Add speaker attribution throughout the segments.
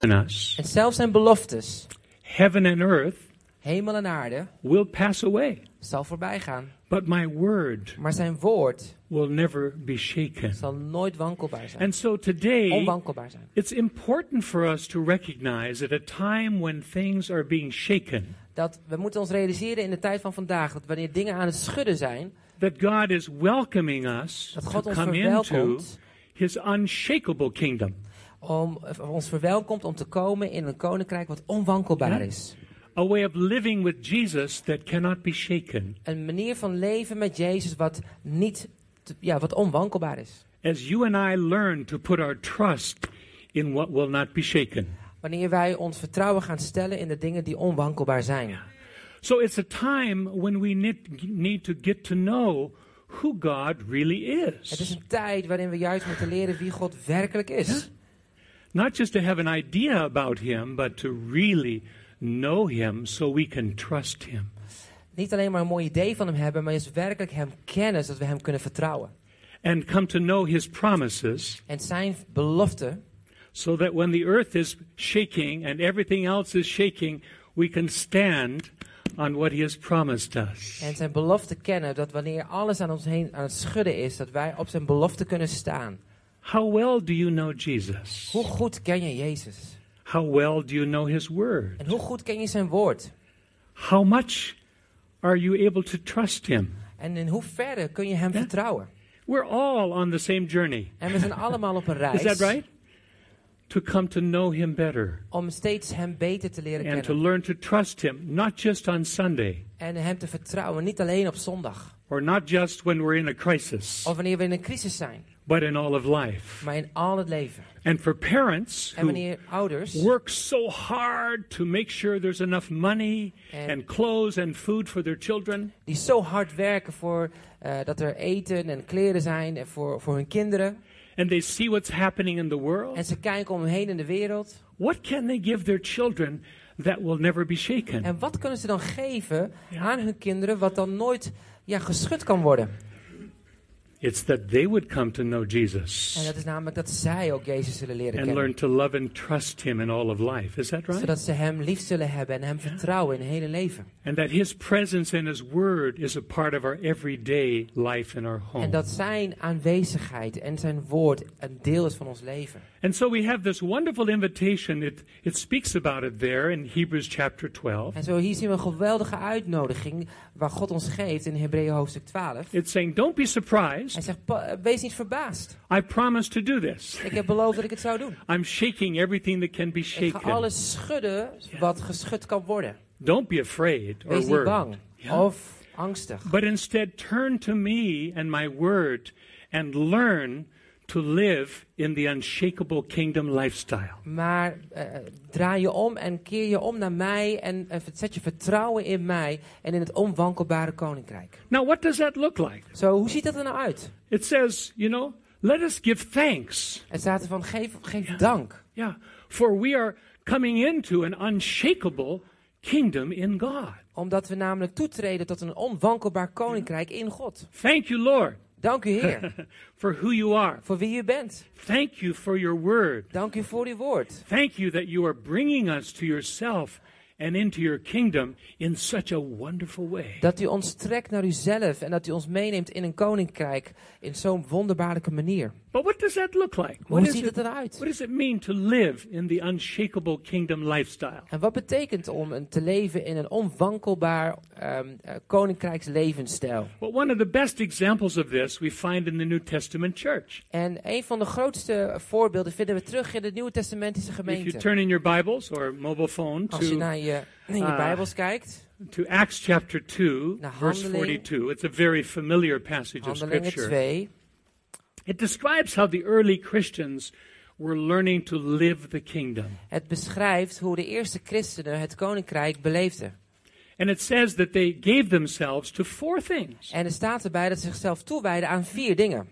Speaker 1: given us.
Speaker 2: En zelfs zijn beloftes,
Speaker 1: Heaven and earth
Speaker 2: hemel en aarde,
Speaker 1: will pass away,
Speaker 2: zal voorbij gaan.
Speaker 1: but my word
Speaker 2: Maar zijn woord
Speaker 1: will never be shaken.
Speaker 2: zal nooit wankelbaar zijn.
Speaker 1: And so today,
Speaker 2: Onwankelbaar zijn.
Speaker 1: it's important for us to recognize at a time when things are being shaken,
Speaker 2: Dat we moeten ons realiseren in de tijd van vandaag dat wanneer dingen aan het schudden zijn,
Speaker 1: that God is welcoming us
Speaker 2: dat
Speaker 1: to
Speaker 2: God ons
Speaker 1: come into
Speaker 2: verwelkomt,
Speaker 1: his unshakable kingdom.
Speaker 2: om, of ons verwelkomt om te komen in een koninkrijk wat onwankelbaar
Speaker 1: Ja.
Speaker 2: is.
Speaker 1: a way of living with Jesus that cannot be shaken.
Speaker 2: Een manier van leven met Jezus wat niet, te- ja, wat onwankelbaar is.
Speaker 1: As you and I learn to put our trust in what will not be shaken.
Speaker 2: Wanneer wij ons vertrouwen gaan stellen in de dingen die onwankelbaar zijn.
Speaker 1: So it's a time when we need, need to get to know who God really
Speaker 2: Het is
Speaker 1: is.
Speaker 2: een tijd waarin we juist moeten leren wie God werkelijk is.
Speaker 1: Not just to have an idea about Him, but to really know Him so we can trust Him.
Speaker 2: Niet alleen maar een mooi idee van hem hebben, maar juist werkelijk hem kennen, zodat we hem kunnen vertrouwen.
Speaker 1: And come to know His promises
Speaker 2: En zijn belofte,
Speaker 1: so that when the earth is shaking and everything else is shaking, we can stand on what He has promised us.
Speaker 2: en zijn belofte kennen, dat wanneer alles aan ons heen aan het schudden is, dat wij op zijn belofte kunnen staan.
Speaker 1: How well do you know Jesus?
Speaker 2: Hoe goed ken je Jezus?
Speaker 1: How well do you know His Word?
Speaker 2: En hoe goed ken je zijn woord?
Speaker 1: How much are you able to trust Him?
Speaker 2: En in hoeverre kun je hem
Speaker 1: Ja.
Speaker 2: vertrouwen?
Speaker 1: We're all on the same journey.
Speaker 2: En we zijn allemaal op een
Speaker 1: Is
Speaker 2: reis
Speaker 1: that right? To come to know Him better
Speaker 2: om steeds hem beter te leren
Speaker 1: and to
Speaker 2: kennen.
Speaker 1: learn to trust Him, not just on Sunday
Speaker 2: En hem te vertrouwen, niet alleen op zondag.
Speaker 1: or not just when we're in a crisis,
Speaker 2: Of wanneer we in een crisis zijn,
Speaker 1: but in all of life.
Speaker 2: maar in al het leven.
Speaker 1: And for parents
Speaker 2: En
Speaker 1: who
Speaker 2: wanneer ouders
Speaker 1: work so hard to make sure there's enough money
Speaker 2: And-
Speaker 1: and clothes and food for their children,
Speaker 2: die zo hard werken voor eh, dat er eten en kleren zijn en voor, voor hun kinderen.
Speaker 1: and they see what's happening in the world.
Speaker 2: En ze kijken om hen heen in de wereld.
Speaker 1: What can they give their children that will never be shaken?
Speaker 2: En wat kunnen ze dan geven aan hun kinderen wat dan nooit ja, geschud kan worden?
Speaker 1: It's that they would come to know
Speaker 2: En
Speaker 1: Jesus
Speaker 2: dat is namelijk dat zij ook Jezus zullen leren
Speaker 1: and
Speaker 2: kennen.
Speaker 1: learn to love and trust Him in all of life. Is that right?
Speaker 2: Zodat ze hem lief zullen hebben en hem vertrouwen in hun hele leven.
Speaker 1: And that His presence and His Word is a part of our everyday life in our
Speaker 2: En
Speaker 1: home.
Speaker 2: dat zijn aanwezigheid en zijn woord een deel is van ons leven.
Speaker 1: And so we have this wonderful invitation. It, it speaks about it there in Hebrews chapter 12.
Speaker 2: En zo hier zien we een geweldige uitnodiging waar God ons geeft in Hebreeën hoofdstuk 12.
Speaker 1: It's saying, Don't be surprised.
Speaker 2: Hij zegt, "Pa- eh, wees niet verbaasd.
Speaker 1: I promised to do this.
Speaker 2: Ik heb beloofd dat ik het zou doen.
Speaker 1: I'm shaking everything that can be
Speaker 2: Ik ga
Speaker 1: shaken.
Speaker 2: alles schudden wat geschud kan worden.
Speaker 1: Don't be afraid or
Speaker 2: Wees niet
Speaker 1: worried.
Speaker 2: bang of angstig.
Speaker 1: But instead, turn to me and my word and learn to live in the unshakable kingdom lifestyle.
Speaker 2: Maar eh, draai je om en keer je om naar mij en eh, zet je vertrouwen in mij en in het onwankelbare koninkrijk.
Speaker 1: Now, what does that look like?
Speaker 2: Zo, hoe ziet dat er nou uit?
Speaker 1: It says, you know, let us give thanks.
Speaker 2: Het staat er van, geef, geef dank.
Speaker 1: Yeah, for we are coming into an unshakable kingdom in God.
Speaker 2: Omdat we namelijk toetreden tot een onwankelbaar koninkrijk in God.
Speaker 1: Thank you, Lord,
Speaker 2: Dank u Heer,
Speaker 1: for who you are.
Speaker 2: voor wie u bent.
Speaker 1: Thank you for your word.
Speaker 2: Dank u voor uw woord.
Speaker 1: Thank you that you are bringing us to yourself and into your kingdom in such a wonderful way.
Speaker 2: Dat u ons trekt naar uzelf en dat u ons meeneemt in een koninkrijk in zo'n wonderbaarlijke manier.
Speaker 1: But what does that look like? What
Speaker 2: Hoe
Speaker 1: is
Speaker 2: ziet
Speaker 1: it?
Speaker 2: het eruit?
Speaker 1: What does it mean to live in the unshakable kingdom lifestyle?
Speaker 2: En wat betekent om een- te leven in een onwankelbaar ehm, eh, koninkrijkslevensstijl?
Speaker 1: Well, one of the best examples of this we find in the New Testament church.
Speaker 2: En een van de grootste voorbeelden vinden we terug in de Nieuwe Testamentische
Speaker 1: If you
Speaker 2: gemeente.
Speaker 1: turn in your Bibles or mobile phone
Speaker 2: Als je
Speaker 1: to,
Speaker 2: naar je, in je
Speaker 1: Ah.
Speaker 2: Bijbels kijkt,
Speaker 1: to Acts chapter 2,
Speaker 2: Naar
Speaker 1: verse
Speaker 2: Handelingen.
Speaker 1: 42, it's a very familiar passage of
Speaker 2: Handelingen
Speaker 1: Scripture.
Speaker 2: 2,
Speaker 1: It describes how the early Christians were learning to live the kingdom.
Speaker 2: het beschrijft hoe de eerste christenen het koninkrijk beleefden.
Speaker 1: And it says that they gave themselves to four things
Speaker 2: En er staat erbij dat ze zichzelf toewijden aan vier dingen.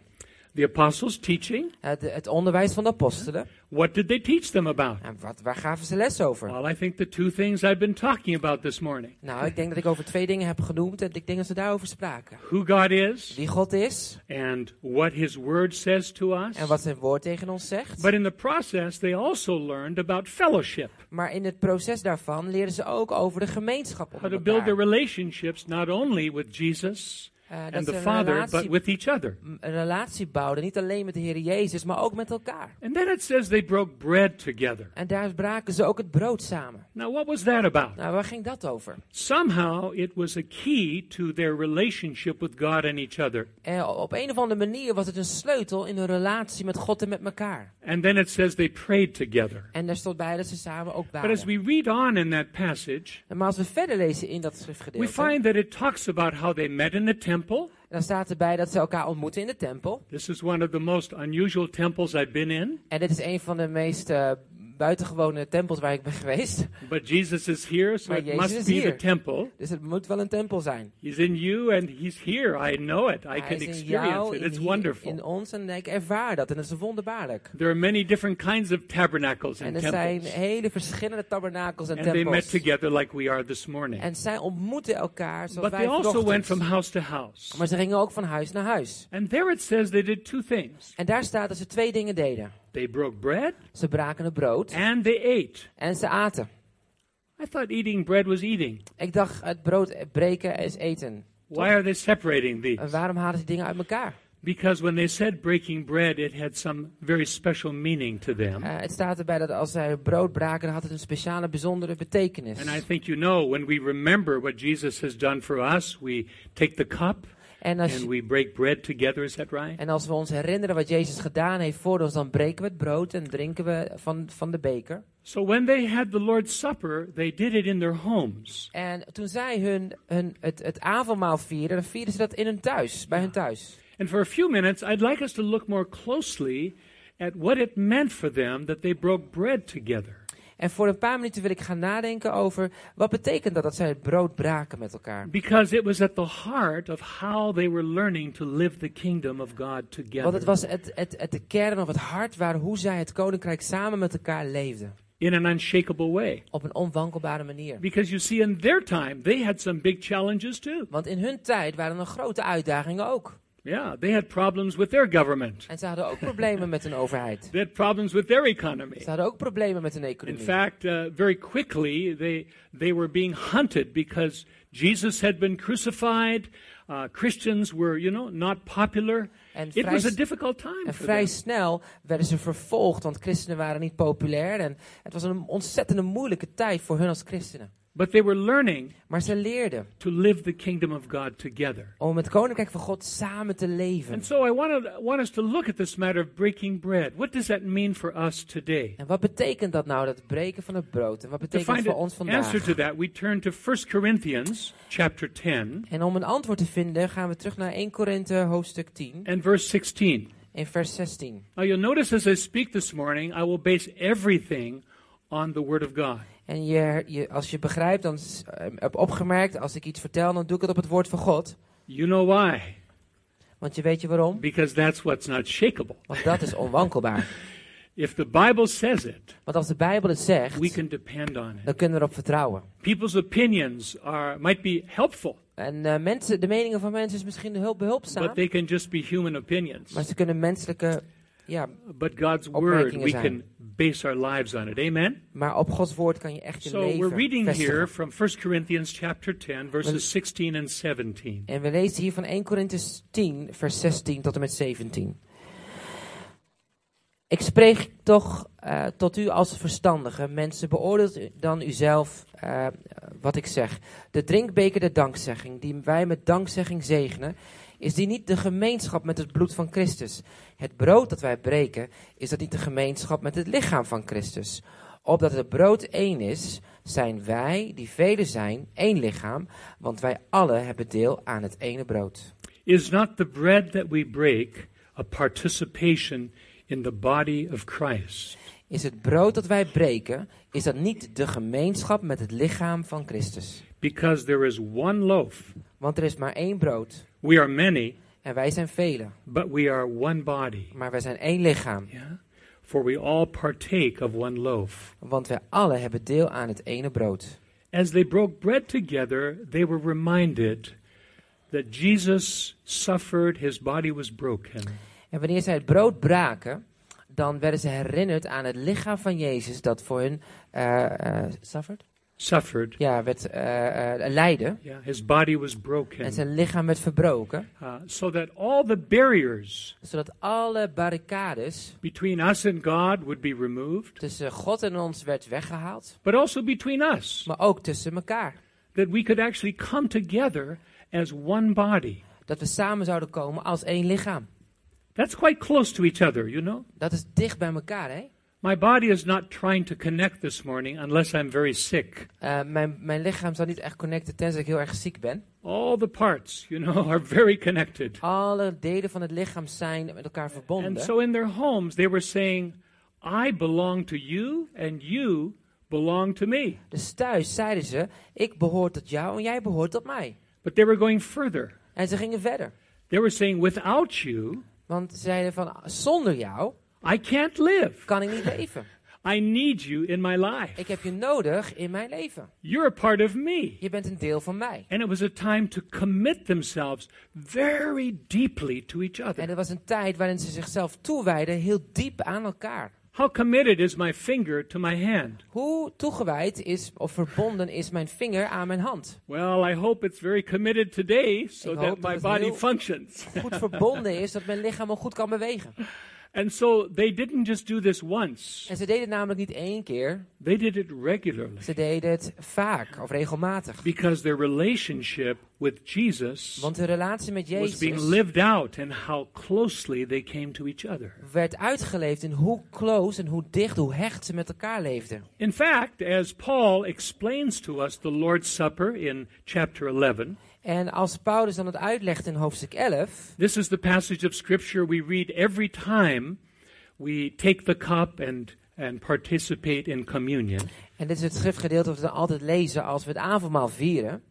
Speaker 1: The apostles' teaching.
Speaker 2: Het, het onderwijs van de apostelen.
Speaker 1: What did they teach them about?
Speaker 2: En wat, waar gaven ze les over?
Speaker 1: Well, I think the two things I've been talking about this morning
Speaker 2: Nou, ik denk dat ik over twee dingen heb genoemd. En ik denk dat ze daarover spraken.
Speaker 1: who God is
Speaker 2: Wie God is.
Speaker 1: and what His Word says to us.
Speaker 2: En wat zijn woord tegen ons zegt.
Speaker 1: But in the process, they also learned about fellowship,
Speaker 2: Maar in het proces daarvan leren ze ook over de gemeenschap
Speaker 1: how
Speaker 2: onder
Speaker 1: to build their
Speaker 2: elkaar.
Speaker 1: relationships not only with Jesus
Speaker 2: Eh, dat
Speaker 1: and
Speaker 2: ze
Speaker 1: the
Speaker 2: een
Speaker 1: Father, but
Speaker 2: relatie,
Speaker 1: with each other.
Speaker 2: een relatie bouwden. Niet alleen met de Heer Jezus, maar ook met elkaar.
Speaker 1: And then it says they broke bread together.
Speaker 2: En daar braken ze ook het brood samen.
Speaker 1: Now, what was that about?
Speaker 2: Nou, waar ging dat over?
Speaker 1: Somehow it was a key to their relationship with God and each other.
Speaker 2: Eh, op een of andere manier was het een sleutel in hun relatie met God en met elkaar.
Speaker 1: And then it says they prayed together.
Speaker 2: En daar stond bij dat ze samen ook
Speaker 1: But as
Speaker 2: waren.
Speaker 1: we read on in that passage,
Speaker 2: Maar als we verder lezen in dat
Speaker 1: we
Speaker 2: schriftgedeelte,
Speaker 1: find that it talks about how they met in the temple.
Speaker 2: dan staat erbij dat ze elkaar ontmoeten in de tempel.
Speaker 1: This is one of the most unusual temples I've been in,
Speaker 2: En dit is een van de meest eh, buitengewone tempels waar ik ben geweest.
Speaker 1: but Jesus is here, so
Speaker 2: Maar
Speaker 1: it
Speaker 2: Jezus
Speaker 1: must
Speaker 2: is
Speaker 1: be the
Speaker 2: hier.
Speaker 1: temple.
Speaker 2: Dus het moet wel een tempel zijn.
Speaker 1: He's in you and he's here. I know it. I
Speaker 2: Hij
Speaker 1: can
Speaker 2: is in
Speaker 1: experience
Speaker 2: jou,
Speaker 1: it.
Speaker 2: in,
Speaker 1: It's
Speaker 2: hier, in
Speaker 1: wonderful.
Speaker 2: ons en ik ervaar dat. En dat is wonderbaarlijk.
Speaker 1: There are many different kinds of tabernacles
Speaker 2: En
Speaker 1: and
Speaker 2: er zijn
Speaker 1: temples.
Speaker 2: hele verschillende tabernakels en
Speaker 1: And they met
Speaker 2: tempels.
Speaker 1: together like we are this morning.
Speaker 2: En zij ontmoeten elkaar zoals
Speaker 1: But they
Speaker 2: wij
Speaker 1: also went from
Speaker 2: vanochtend.
Speaker 1: house to house.
Speaker 2: Maar ze gingen ook van huis naar huis.
Speaker 1: And there it says they did two things
Speaker 2: En daar staat dat ze twee dingen deden.
Speaker 1: they broke bread
Speaker 2: Ze braken het brood
Speaker 1: and they ate.
Speaker 2: en ze aten.
Speaker 1: I thought eating bread was eating.
Speaker 2: Ik dacht, het brood breken is eten.
Speaker 1: Why are they separating these?
Speaker 2: En waarom halen ze dingen uit elkaar?
Speaker 1: Because when they said breaking bread, it had some very special meaning to them.
Speaker 2: Eh, het staat erbij dat als zij brood braken, dan had het een speciale, bijzondere betekenis.
Speaker 1: And I think you know when we remember what Jesus has done for us, we take the cup
Speaker 2: En als,
Speaker 1: and we break bread together. Is that right?
Speaker 2: en als we ons herinneren wat Jezus gedaan heeft voor ons, dan breken we het brood en drinken we van, van de beker.
Speaker 1: So when they had the Lord's Supper, they did it in their homes.
Speaker 2: En toen zij hun, hun, het, het avondmaal vierden, dan vierden ze dat in hun thuis, bij hun thuis.
Speaker 1: And for a few minutes, I'd like us to look more closely at what it meant for them that they broke bread together.
Speaker 2: En voor een paar minuten wil ik gaan nadenken over wat betekent dat dat zij het brood braken met elkaar.
Speaker 1: Because it was at the heart of how they were learning to live the kingdom of God
Speaker 2: Want
Speaker 1: together
Speaker 2: het was het, het, het, de kern of het hart waar hoe zij het koninkrijk samen met elkaar leefden.
Speaker 1: in an unshakable way.
Speaker 2: Op een onwankelbare manier.
Speaker 1: Because you see, in their time, they had some big challenges too.
Speaker 2: Want in hun tijd waren er grote uitdagingen ook.
Speaker 1: Yeah, they had problems with their government,
Speaker 2: En ze hadden ook problemen met hun overheid.
Speaker 1: they had problems with their economy.
Speaker 2: Ze hadden ook problemen met hun
Speaker 1: In
Speaker 2: economie.
Speaker 1: fact, uh, very quickly, they, they were being hunted because Jesus had been crucified. Uh, Christians were, you know, not popular.
Speaker 2: En
Speaker 1: It
Speaker 2: vrij,
Speaker 1: was a
Speaker 2: s-
Speaker 1: difficult time
Speaker 2: en
Speaker 1: for
Speaker 2: vrij
Speaker 1: them.
Speaker 2: snel werden ze vervolgd, want christenen waren niet populair. En het was een ontzettende moeilijke tijd voor hun als christenen.
Speaker 1: But they were learning
Speaker 2: Maar ze leerden
Speaker 1: to live the kingdom of God together.
Speaker 2: om het koninkrijk van God samen te leven.
Speaker 1: And so I wanted, want us to look at this matter of breaking bread. What does that mean for us today?
Speaker 2: En wat betekent dat nou, dat breken van het brood? En wat
Speaker 1: To
Speaker 2: betekent het
Speaker 1: find
Speaker 2: voor ons
Speaker 1: an answer
Speaker 2: vandaag?
Speaker 1: to that, we turn to 1 Corinthians chapter 10
Speaker 2: En om een antwoord te vinden gaan we terug naar 1 Korinthe hoofdstuk 10
Speaker 1: and verse 16.
Speaker 2: in vers 16.
Speaker 1: Now, you'll notice as I speak this morning, I will base everything on the Word of God.
Speaker 2: En je, je, als je begrijpt, dan s- eh, heb opgemerkt, als ik iets vertel, dan doe ik het op het woord van God.
Speaker 1: You know why?
Speaker 2: Want je weet je waarom?
Speaker 1: Because that's what's not shakable.
Speaker 2: Want dat is onwankelbaar.
Speaker 1: If the Bible says it,
Speaker 2: Want als de Bijbel het zegt,
Speaker 1: we can depend on it.
Speaker 2: dan kunnen we erop vertrouwen.
Speaker 1: People's opinions are, might be helpful,
Speaker 2: En eh, mensen, de meningen van mensen is misschien heel behulpzaam,
Speaker 1: but they can just be human opinions.
Speaker 2: maar ze kunnen menselijke, ja,
Speaker 1: But God's Word,
Speaker 2: Opmerkingen
Speaker 1: we
Speaker 2: zijn.
Speaker 1: can base our lives on it. Amen?
Speaker 2: maar op Gods woord kan je echt je
Speaker 1: So we're
Speaker 2: leven
Speaker 1: reading here
Speaker 2: vestigen.
Speaker 1: from 1 Corinthians chapter 10, verses 16 and 17.
Speaker 2: En we lezen hier van 1 Corinthians 10, vers 16 tot en met 17. Ik spreek toch eh, tot u als verstandige. Mensen, beoordeelt u dan uzelf eh, wat ik zeg. De drinkbeker der dankzegging, die wij met dankzegging zegenen, is die niet de gemeenschap met het bloed van Christus. Het brood dat wij breken, is dat niet de gemeenschap met het lichaam van Christus. Opdat het brood één is, zijn wij, die velen zijn, één lichaam, want wij alle hebben deel aan het ene brood.
Speaker 1: Is not the bread that we break a participation in the body of Christ?
Speaker 2: Is het brood dat wij breken, is dat niet de gemeenschap met het lichaam van Christus.
Speaker 1: Because there is one loaf.
Speaker 2: Want er is maar één brood.
Speaker 1: We are many,
Speaker 2: En wij zijn velen,
Speaker 1: but we are one body.
Speaker 2: maar wij zijn één lichaam.
Speaker 1: Yeah? For we all partake of one loaf.
Speaker 2: Want wij allen hebben deel aan het ene brood.
Speaker 1: As they broke bread together, they were reminded that Jesus suffered, his body was broken.
Speaker 2: En wanneer zij het brood braken, dan werden ze herinnerd aan het lichaam van Jezus dat voor hun eh, eh, suffered?
Speaker 1: Suffered.
Speaker 2: Ja, werd eh, eh, lijden.
Speaker 1: Yeah, his body was
Speaker 2: En
Speaker 1: broken.
Speaker 2: zijn lichaam werd verbroken,
Speaker 1: Uh, so that all the barriers
Speaker 2: zodat alle barricades
Speaker 1: between us and God would be removed,
Speaker 2: tussen God en ons werd weggehaald,
Speaker 1: but also between us,
Speaker 2: maar ook tussen elkaar.
Speaker 1: that we could actually come together as one body.
Speaker 2: Dat we samen zouden komen als één lichaam.
Speaker 1: That's quite close to each other, you know?
Speaker 2: Dat is dicht bij elkaar, hè?
Speaker 1: My body is not trying to connect this morning unless I'm very sick.
Speaker 2: Eh, mijn, mijn lichaam zal niet echt connecten tenzij ik heel erg ziek ben.
Speaker 1: All the parts, you know, are very connected.
Speaker 2: Alle delen van het lichaam zijn met elkaar verbonden.
Speaker 1: And so in their homes, they were saying, I belong to you and you belong to me.
Speaker 2: Dus thuis zeiden ze: Ik behoor tot jou en jij behoort tot mij.
Speaker 1: But they were going further.
Speaker 2: En ze gingen verder.
Speaker 1: They were saying, without you,
Speaker 2: Want ze zeiden van, zonder jou
Speaker 1: I can't live.
Speaker 2: kan ik niet leven.
Speaker 1: I need you in my life.
Speaker 2: Ik heb je nodig in mijn leven.
Speaker 1: You're a part of me.
Speaker 2: Je bent een deel van mij.
Speaker 1: And it was a time to commit themselves very deeply to each
Speaker 2: En
Speaker 1: other.
Speaker 2: het was een tijd waarin ze zichzelf toewijden heel diep aan elkaar.
Speaker 1: How committed is my finger to my hand?
Speaker 2: Hoe toegewijd is of verbonden is mijn vinger aan mijn hand?
Speaker 1: Well, I hope it's very committed today so
Speaker 2: Ik
Speaker 1: that
Speaker 2: hoop dat
Speaker 1: my
Speaker 2: het
Speaker 1: body
Speaker 2: heel-
Speaker 1: functions.
Speaker 2: Goed verbonden is dat mijn lichaam me goed kan bewegen.
Speaker 1: And so they didn't just do this once,
Speaker 2: En ze deden het namelijk niet één keer,
Speaker 1: they did it regularly
Speaker 2: ze deden het vaak of regelmatig.
Speaker 1: because their relationship with Jesus
Speaker 2: Want de relatie met
Speaker 1: was being
Speaker 2: Jezus
Speaker 1: lived out and how closely they came to each other.
Speaker 2: werd uitgeleefd in hoe close en hoe dicht, hoe hecht ze met elkaar leefden.
Speaker 1: In fact, as Paul explains to us the Lord's Supper in chapter 11,
Speaker 2: En als Paulus dan het uitlegt in hoofdstuk 11,
Speaker 1: This is the passage of Scripture we read every time we take the cup and, and participate in communion.
Speaker 2: en dit is het schriftgedeelte dat we dan altijd lezen als we het avondmaal vieren.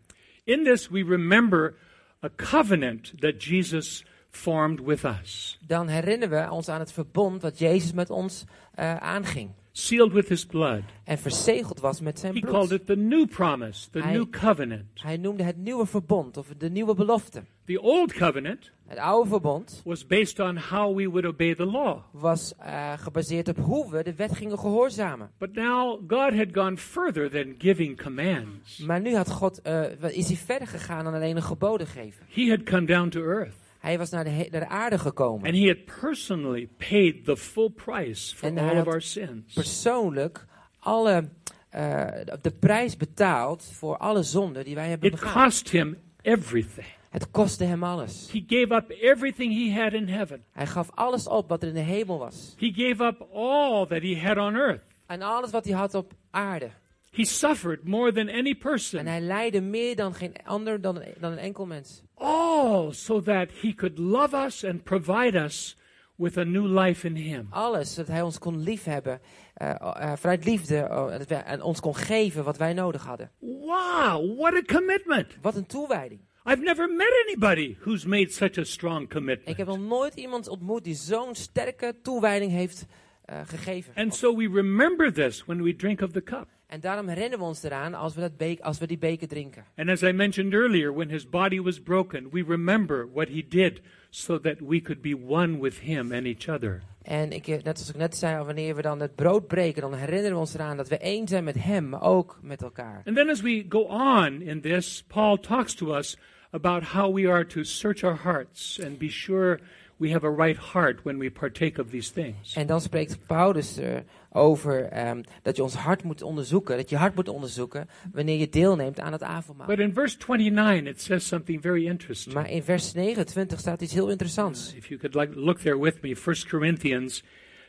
Speaker 1: In this, we remember a covenant that Jesus formed with us,
Speaker 2: dan herinneren we ons aan het verbond wat Jezus met ons eh, aanging.
Speaker 1: sealed with his blood.
Speaker 2: En verzegeld was met zijn
Speaker 1: He called
Speaker 2: bloed.
Speaker 1: it the new promise, the
Speaker 2: Hij-
Speaker 1: new covenant.
Speaker 2: Hij noemde het nieuwe verbond of de nieuwe belofte.
Speaker 1: The old covenant
Speaker 2: Het oude verbond
Speaker 1: was based on how we would obey the law.
Speaker 2: was eh, gebaseerd op hoe we de wet gingen gehoorzamen.
Speaker 1: But now God had gone further than giving commands.
Speaker 2: Maar nu had God, eh, is hij verder gegaan dan alleen een geboden geven.
Speaker 1: He had come down to earth
Speaker 2: Hij was naar de, he- naar de aarde gekomen.
Speaker 1: and he had personally paid the full price for
Speaker 2: En hij
Speaker 1: all of
Speaker 2: had
Speaker 1: our sins.
Speaker 2: Persoonlijk alle, eh, de prijs betaald voor alle zonden die wij hebben
Speaker 1: It
Speaker 2: begaan.
Speaker 1: cost him everything.
Speaker 2: Het kostte hem alles.
Speaker 1: He gave up everything he had in heaven.
Speaker 2: Hij gaf alles op wat er in de hemel was.
Speaker 1: He gave up all that he had on earth.
Speaker 2: En alles wat hij had op aarde.
Speaker 1: He suffered more than any
Speaker 2: En
Speaker 1: person.
Speaker 2: hij leidde meer dan geen ander, dan, een- dan een enkel mens.
Speaker 1: All so that he could love us and provide us with a new life in him.
Speaker 2: Alles, dat hij ons kon liefhebben, eh eh, vanuit liefde, eh, dat wij, en ons kon geven wat wij nodig hadden.
Speaker 1: Wow, what a commitment.
Speaker 2: Wat een toewijding.
Speaker 1: I've never met anybody who's made such a strong
Speaker 2: Ik heb
Speaker 1: commitment.
Speaker 2: nog nooit iemand ontmoet die zo'n sterke toewijding heeft eh, gegeven.
Speaker 1: And so we remember this when we drink of the cup.
Speaker 2: En daarom herinneren we ons eraan als we, dat beek, als we die beker drinken.
Speaker 1: And as I mentioned earlier, when his body was broken, we remember what he did so that we could be one with him and each other.
Speaker 2: En ik, eh, net zoals ik net zei, wanneer we dan het brood breken, dan herinneren we ons eraan dat we één zijn met hem, maar ook met elkaar.
Speaker 1: And then as we go on in this, Paul talks to us about how we are to search our hearts and be sure we have a right heart when we partake of these things.
Speaker 2: En dan spreekt Paulus er over ehm, dat je ons hart moet onderzoeken, dat je hart moet onderzoeken wanneer je deelneemt aan het avondmaal.
Speaker 1: But in verse 29, it says something very interesting.
Speaker 2: Maar in vers 29 staat iets heel interessants.
Speaker 1: If you could like, look there with me, 1 Corinthians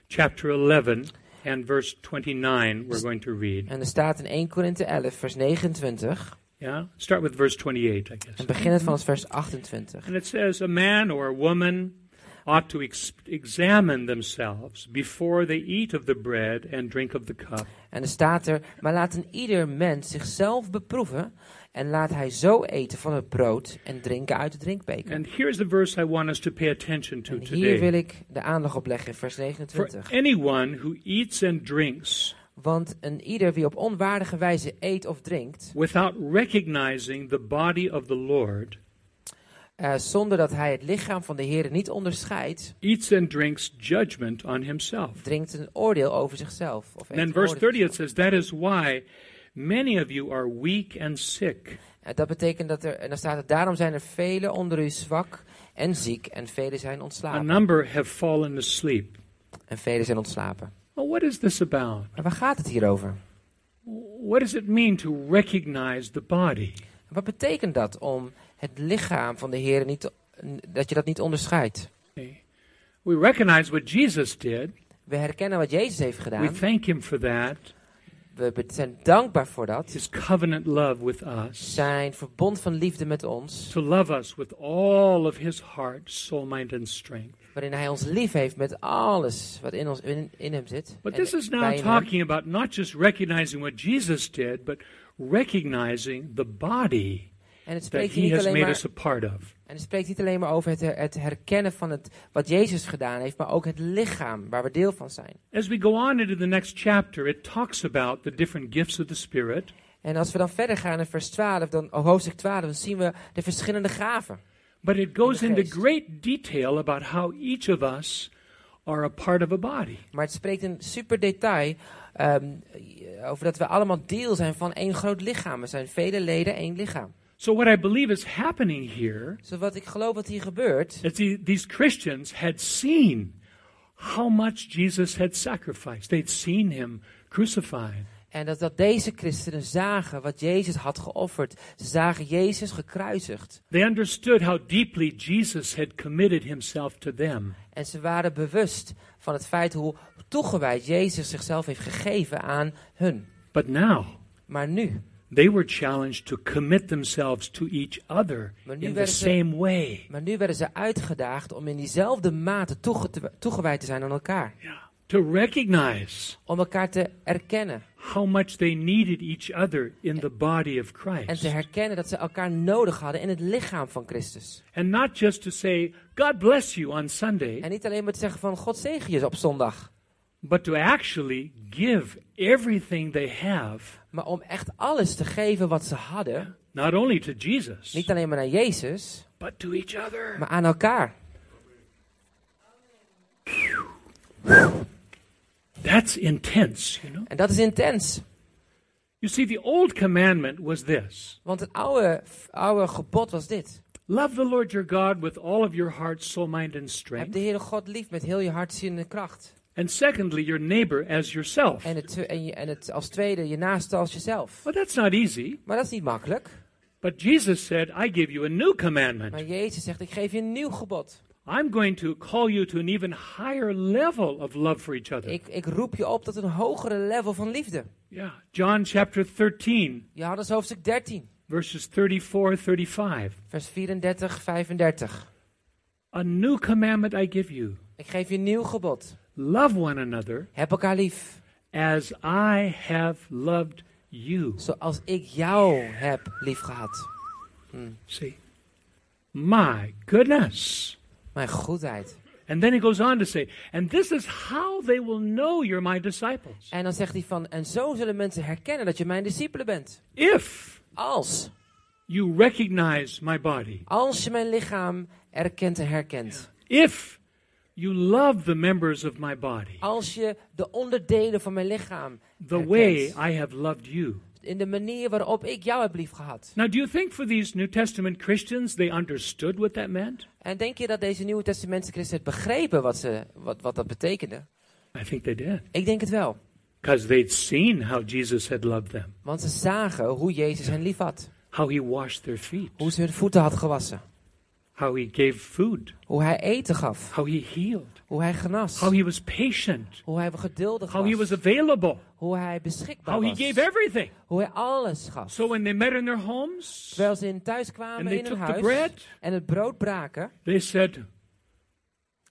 Speaker 1: chapter 11 and verse 29, we're going to read.
Speaker 2: En er staat in 1 Korinthe 11, vers 29,
Speaker 1: Yeah? Start with verse 28, I guess.
Speaker 2: en begin het vanaf vers 28.
Speaker 1: And it says, A man or a woman ought to ex- examine themselves before they eat of the bread and drink of the cup.
Speaker 2: En er staat er, maar laat een ieder mens zichzelf beproeven en laat hij zo eten van het brood en drinken uit de drinkbeker.
Speaker 1: And here's the verse I want us to pay attention to
Speaker 2: En hier wil
Speaker 1: today.
Speaker 2: ik de aandacht op leggen in vers
Speaker 1: For
Speaker 2: 29.
Speaker 1: anyone who eats and drinks
Speaker 2: Want een ieder wie op onwaardige wijze eet of drinkt,
Speaker 1: without recognizing the body of the Lord
Speaker 2: eh, zonder dat hij het lichaam van de Heer niet onderscheidt,
Speaker 1: eats and drinks judgment on himself.
Speaker 2: drinkt een oordeel over zichzelf.
Speaker 1: And
Speaker 2: Of eet
Speaker 1: then
Speaker 2: een
Speaker 1: verse
Speaker 2: oordeel.
Speaker 1: 30 it says, That is why many of you are weak and sick.
Speaker 2: En Eh, dat betekent dat er, en dan staat het, daarom zijn er velen onder u zwak en ziek en velen zijn
Speaker 1: A
Speaker 2: ontslapen.
Speaker 1: number have fallen asleep.
Speaker 2: En velen zijn ontslapen.
Speaker 1: Well, what is this about?
Speaker 2: Maar waar gaat het hier over?
Speaker 1: What does it mean to recognize the body?
Speaker 2: Wat betekent dat om het lichaam van de Heer niet, te- dat je dat niet onderscheidt?
Speaker 1: Okay. We recognize what Jesus did.
Speaker 2: We herkennen wat Jezus heeft
Speaker 1: We
Speaker 2: gedaan.
Speaker 1: thank him for that.
Speaker 2: We be- zijn dankbaar voor dat.
Speaker 1: His covenant love with us.
Speaker 2: Zijn verbond van liefde met ons,
Speaker 1: To love us with all of his heart, soul, mind, and strength.
Speaker 2: waarin Hij ons lief heeft met alles wat in, ons, in, in Hem zit.
Speaker 1: But
Speaker 2: en
Speaker 1: this is nou now
Speaker 2: bij hem.
Speaker 1: talking about not just recognizing what Jesus did, but recognizing the body
Speaker 2: En het
Speaker 1: that
Speaker 2: spreekt hier
Speaker 1: he
Speaker 2: niet
Speaker 1: has
Speaker 2: alleen
Speaker 1: made
Speaker 2: maar
Speaker 1: us a part of.
Speaker 2: En het spreekt niet alleen maar over het, her- het herkennen van het, wat Jezus gedaan heeft, maar ook het lichaam waar we deel van zijn.
Speaker 1: As we go on into the next chapter, it talks about the different gifts of the Spirit.
Speaker 2: En als we dan verder gaan in vers 12, dan, oh, hoofdstuk 12, dan zien we de verschillende gaven.
Speaker 1: But it goes into
Speaker 2: geest.
Speaker 1: great detail about how each of us are a part of a body.
Speaker 2: Maar het spreekt in super detail ehm, over dat we allemaal deel zijn van één groot lichaam. We zijn vele leden, één lichaam.
Speaker 1: So, what I believe is happening here
Speaker 2: Dus wat ik geloof wat hier gebeurt,
Speaker 1: is the, these Christians had seen how much Jesus had sacrificed, they'd seen him crucified.
Speaker 2: en dat, dat deze christenen zagen wat Jezus had geofferd. Ze zagen Jezus gekruisigd.
Speaker 1: They understood how deeply Jesus had committed himself to them.
Speaker 2: En ze waren bewust van het feit hoe toegewijd Jezus zichzelf heeft gegeven aan hun.
Speaker 1: But now,
Speaker 2: Maar nu,
Speaker 1: they were challenged to commit themselves to each other
Speaker 2: Maar nu
Speaker 1: in the
Speaker 2: werden ze-
Speaker 1: same way.
Speaker 2: maar nu werden ze uitgedaagd om in diezelfde mate toege- te- toegewijd te zijn aan elkaar.
Speaker 1: Yeah. To recognize
Speaker 2: Om elkaar te erkennen.
Speaker 1: how much they needed each other in the body of
Speaker 2: En
Speaker 1: Christ.
Speaker 2: te herkennen dat ze elkaar nodig hadden in het lichaam van Christus.
Speaker 1: And not just to say, God bless you on
Speaker 2: En
Speaker 1: Sunday,
Speaker 2: niet alleen maar te zeggen van God zegen je op zondag.
Speaker 1: but to actually give everything they have,
Speaker 2: Maar om echt alles te geven wat ze hadden.
Speaker 1: not only to Jesus,
Speaker 2: Niet alleen maar naar Jezus,
Speaker 1: but to each other.
Speaker 2: maar aan elkaar.
Speaker 1: That's intense, you know?
Speaker 2: En dat is intens.
Speaker 1: You see, the old commandment was this
Speaker 2: Want het oude, oude gebod was dit.
Speaker 1: love the Lord your God with all of your heart, soul, mind, and
Speaker 2: Heb de
Speaker 1: strength.
Speaker 2: Heere God lief met heel je hart, ziel en kracht.
Speaker 1: And secondly, your neighbor as yourself.
Speaker 2: En, het, twe- en, je, en het, als tweede je naaste als jezelf.
Speaker 1: Well, that's not easy.
Speaker 2: Maar dat is niet makkelijk.
Speaker 1: But Jesus said, I give you a new commandment.
Speaker 2: Maar Jezus zegt, ik geef je een nieuw gebod.
Speaker 1: I'm going to call you to an even higher level of love for each other.
Speaker 2: Ik, ik roep je op tot een hogere level van liefde.
Speaker 1: Yeah. John chapter 13,
Speaker 2: Johannes hoofdstuk 13,
Speaker 1: verses 34 35.
Speaker 2: vers 34, 35.
Speaker 1: A new commandment I give you
Speaker 2: Ik geef je een nieuw gebod.
Speaker 1: love one another
Speaker 2: Heb elkaar lief.
Speaker 1: as I have loved you.
Speaker 2: Zoals ik jou heb lief gehad.
Speaker 1: See? My goodness.
Speaker 2: Mijn goedheid.
Speaker 1: And then he goes on to say, and this is how they will know you're my disciples.
Speaker 2: En dan zegt hij van, en zo zullen mensen herkennen dat je mijn discipelen bent.
Speaker 1: If
Speaker 2: Als,
Speaker 1: you recognize my body,
Speaker 2: als je mijn lichaam erkent en herkent.
Speaker 1: if you love the members of my body
Speaker 2: Als je de onderdelen van mijn lichaam
Speaker 1: the
Speaker 2: herkent.
Speaker 1: way I have loved you.
Speaker 2: In de manier waarop ik jou heb lief gehad.
Speaker 1: Now, do you think for these New Testament Christians they understood what that meant?
Speaker 2: En denk je dat deze Nieuwe Testamentse christen het begrepen wat, ze, wat, wat dat betekende?
Speaker 1: I think they did.
Speaker 2: Ik denk het wel.
Speaker 1: Because they'd seen how Jesus had loved them,
Speaker 2: Want ze zagen hoe Jezus hen lief had.
Speaker 1: how he washed their feet,
Speaker 2: Hoe ze hun voeten had gewassen.
Speaker 1: how he gave food,
Speaker 2: Hoe hij eten gaf.
Speaker 1: how he healed,
Speaker 2: Hoe hij genas.
Speaker 1: how he was patient,
Speaker 2: Hoe hij geduldig
Speaker 1: how he was
Speaker 2: was.
Speaker 1: available,
Speaker 2: Hoe hij beschikbaar
Speaker 1: how he
Speaker 2: was.
Speaker 1: gave everything.
Speaker 2: Hoe hij alles gaf.
Speaker 1: So when they met in their homes,
Speaker 2: Terwijl ze in thuis
Speaker 1: And
Speaker 2: kwamen
Speaker 1: they
Speaker 2: in hun
Speaker 1: took the
Speaker 2: huis
Speaker 1: bread.
Speaker 2: en het brood braken,
Speaker 1: they said,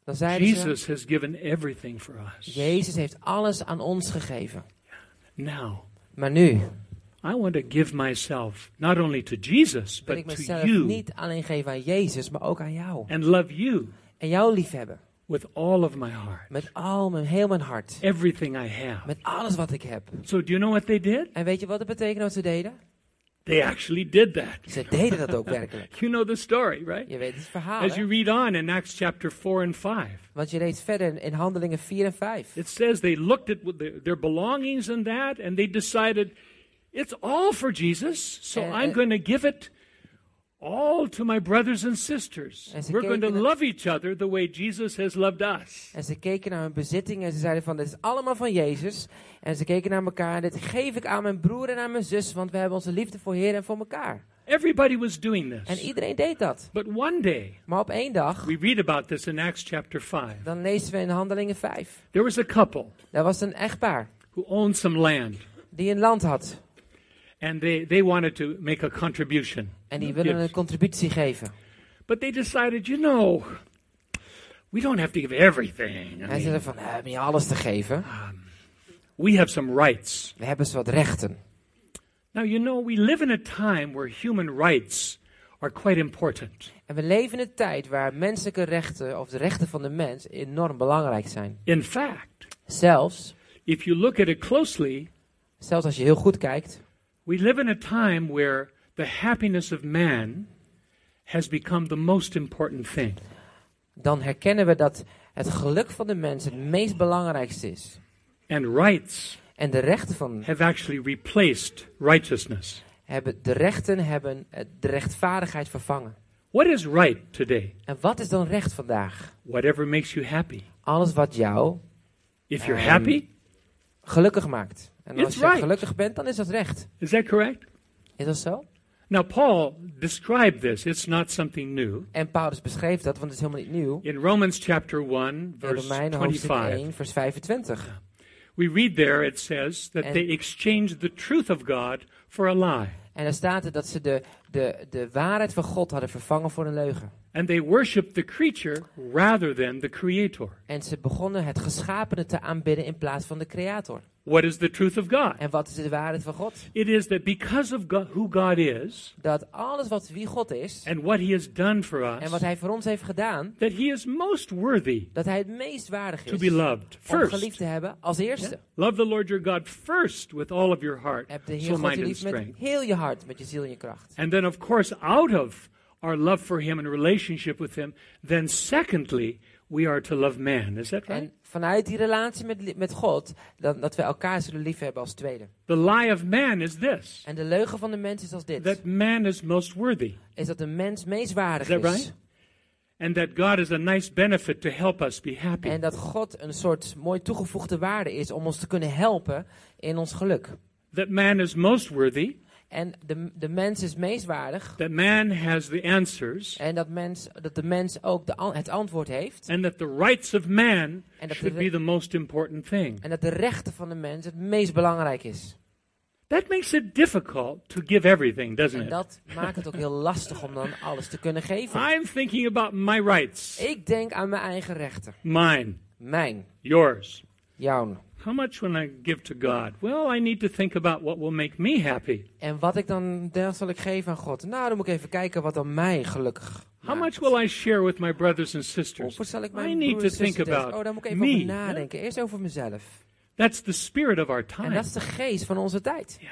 Speaker 2: Dan zeiden ze,
Speaker 1: Jesus has given everything for us.
Speaker 2: Jezus heeft alles aan ons gegeven.
Speaker 1: Now,
Speaker 2: Maar nu
Speaker 1: I want to give myself not only to Jesus,
Speaker 2: wil ik
Speaker 1: but to
Speaker 2: mezelf
Speaker 1: you
Speaker 2: niet alleen geven aan Jezus, maar ook aan jou.
Speaker 1: and love you
Speaker 2: En jou liefhebben.
Speaker 1: with all of my heart,
Speaker 2: Met al mijn, heel mijn hart.
Speaker 1: everything I have.
Speaker 2: Met alles wat ik heb.
Speaker 1: So, do you know what they did?
Speaker 2: En weet je wat het betekent wat ze deden?
Speaker 1: They actually did that.
Speaker 2: Ze deden dat ook werkelijk.
Speaker 1: You know the story, right?
Speaker 2: Je weet het verhaal.
Speaker 1: As you
Speaker 2: hè?
Speaker 1: read on in Acts chapter 4 and 5,
Speaker 2: Want je leest verder in, in Handelingen 4 en 5.
Speaker 1: it says they looked at what their their belongings and that, and they decided it's all for Jesus, so
Speaker 2: And- uh,
Speaker 1: I'm
Speaker 2: and-
Speaker 1: going to give it all to my brothers and sisters.
Speaker 2: As a
Speaker 1: We're going to
Speaker 2: cake and a-
Speaker 1: love each other the way Jesus has loved us.
Speaker 2: En ze keken naar hun bezitting en ze zeiden van, dit is allemaal van Jezus. En ze keken naar elkaar en dit geef ik aan mijn broer en aan mijn zus, want we hebben onze liefde voor Heer en voor elkaar.
Speaker 1: Everybody was doing
Speaker 2: En
Speaker 1: this.
Speaker 2: iedereen deed dat.
Speaker 1: But one day,
Speaker 2: Maar op één dag,
Speaker 1: we read about this in Acts chapter 5.
Speaker 2: dan lezen we in Handelingen 5.
Speaker 1: There was a couple
Speaker 2: Daar was een echtpaar
Speaker 1: who owned some land,
Speaker 2: die een land had.
Speaker 1: and they, they wanted to make a contribution.
Speaker 2: En die willen
Speaker 1: Yes.
Speaker 2: een contributie geven.
Speaker 1: But they decided, you know, we don't have to give everything. I
Speaker 2: En ze
Speaker 1: mean,
Speaker 2: zeiden van, eh, om je alles te geven,
Speaker 1: we have some rights.
Speaker 2: we hebben ze wat rechten.
Speaker 1: Now, you know, we live in a time where human rights are quite important.
Speaker 2: En we leven in een tijd waar menselijke rechten, of de rechten van de mens, enorm belangrijk zijn.
Speaker 1: In fact,
Speaker 2: Zelfs,
Speaker 1: if you look at it closely,
Speaker 2: zelfs als je heel goed kijkt,
Speaker 1: we live in a time where the happiness of man has become the most important thing.
Speaker 2: dan herkennen we dat het geluk van de mens het meest belangrijkste is.
Speaker 1: And rights
Speaker 2: En de rechten, van,
Speaker 1: have actually replaced righteousness.
Speaker 2: hebben, de rechten hebben eh, de rechtvaardigheid vervangen.
Speaker 1: What is right today?
Speaker 2: En wat is dan recht vandaag?
Speaker 1: Whatever makes you happy.
Speaker 2: Alles wat jou
Speaker 1: If you're
Speaker 2: Um,
Speaker 1: happy,
Speaker 2: gelukkig maakt. En als
Speaker 1: It's
Speaker 2: je
Speaker 1: right.
Speaker 2: gelukkig bent, dan is dat recht.
Speaker 1: is that correct?
Speaker 2: Is dat zo?
Speaker 1: Now, Paul described this. It's not something new.
Speaker 2: En Paulus beschreef dat, want het is helemaal niet nieuw.
Speaker 1: In Romans chapter 1,
Speaker 2: In
Speaker 1: verse
Speaker 2: Romeinen hoofdstuk
Speaker 1: 25,
Speaker 2: 1, vers 25.
Speaker 1: we read there it says that
Speaker 2: And-
Speaker 1: they exchanged the truth of God for a lie,
Speaker 2: En daar staat er dat ze de, de, de waarheid van God hadden vervangen voor een leugen.
Speaker 1: and they worshiped the creature rather than the creator.
Speaker 2: En ze begonnen het geschapene te aanbidden in plaats van de creator.
Speaker 1: What is the truth of God?
Speaker 2: En wat is de waarheid van God?
Speaker 1: It is that because of God, who God is
Speaker 2: Dat alles wat wie God is
Speaker 1: and what he has done for
Speaker 2: en
Speaker 1: us,
Speaker 2: wat hij voor ons heeft gedaan,
Speaker 1: that he is most worthy
Speaker 2: dat hij het meest waardig
Speaker 1: to be
Speaker 2: is
Speaker 1: loved
Speaker 2: om
Speaker 1: first.
Speaker 2: geliefd te hebben als eerste.
Speaker 1: Love the Lord your God first with all of your heart,
Speaker 2: Heb de Heer
Speaker 1: soul,
Speaker 2: God je
Speaker 1: mind, and
Speaker 2: lief met
Speaker 1: strength.
Speaker 2: heel je hart, met je ziel en je kracht.
Speaker 1: And then, of course, out of our love for Him and relationship with Him, then secondly, we are to love man. Is that right?
Speaker 2: En vanuit die relatie met, li- met God, dan, dat we elkaar zullen liefhebben als tweede.
Speaker 1: the lie of man is this
Speaker 2: En de leugen van de mens is als dit.
Speaker 1: that man is most worthy,
Speaker 2: Is dat de mens meest waardig
Speaker 1: Is that
Speaker 2: is.
Speaker 1: right? and that God is a nice benefit to help us be happy.
Speaker 2: En dat God een soort mooi toegevoegde waarde is om ons te kunnen helpen in ons geluk.
Speaker 1: that man is most worthy,
Speaker 2: En de, de mens is meest waardig.
Speaker 1: that man has the answers,
Speaker 2: En dat, mens, dat de mens ook de, an- het antwoord heeft.
Speaker 1: and that the rights of man
Speaker 2: En dat, de,
Speaker 1: should be
Speaker 2: re-
Speaker 1: the most important thing.
Speaker 2: en dat de rechten van de mens het meest belangrijk is.
Speaker 1: That makes it difficult to give everything, doesn't
Speaker 2: En
Speaker 1: it?
Speaker 2: dat maakt het ook heel lastig om dan alles te kunnen geven.
Speaker 1: I'm thinking about my rights,
Speaker 2: Ik denk aan mijn eigen rechten.
Speaker 1: mine,
Speaker 2: Mijn,
Speaker 1: yours.
Speaker 2: jouw.
Speaker 1: How much will I give to God? Well, I need to think about what will make me happy.
Speaker 2: En wat ik dan, dat zal ik geven aan God. Nou, dan moet ik even kijken wat dan mij gelukkig
Speaker 1: How
Speaker 2: maakt.
Speaker 1: much will I share with my brothers and sisters?
Speaker 2: Hoeveel zal ik
Speaker 1: I
Speaker 2: mijn
Speaker 1: need
Speaker 2: broers
Speaker 1: to
Speaker 2: en
Speaker 1: think
Speaker 2: zussen thuis-
Speaker 1: about
Speaker 2: Oh, daar moet ik even
Speaker 1: me,
Speaker 2: over
Speaker 1: hè?
Speaker 2: nadenken. Eerst over mezelf.
Speaker 1: That's the spirit of our
Speaker 2: En
Speaker 1: time.
Speaker 2: dat is de geest van onze tijd.
Speaker 1: Ja.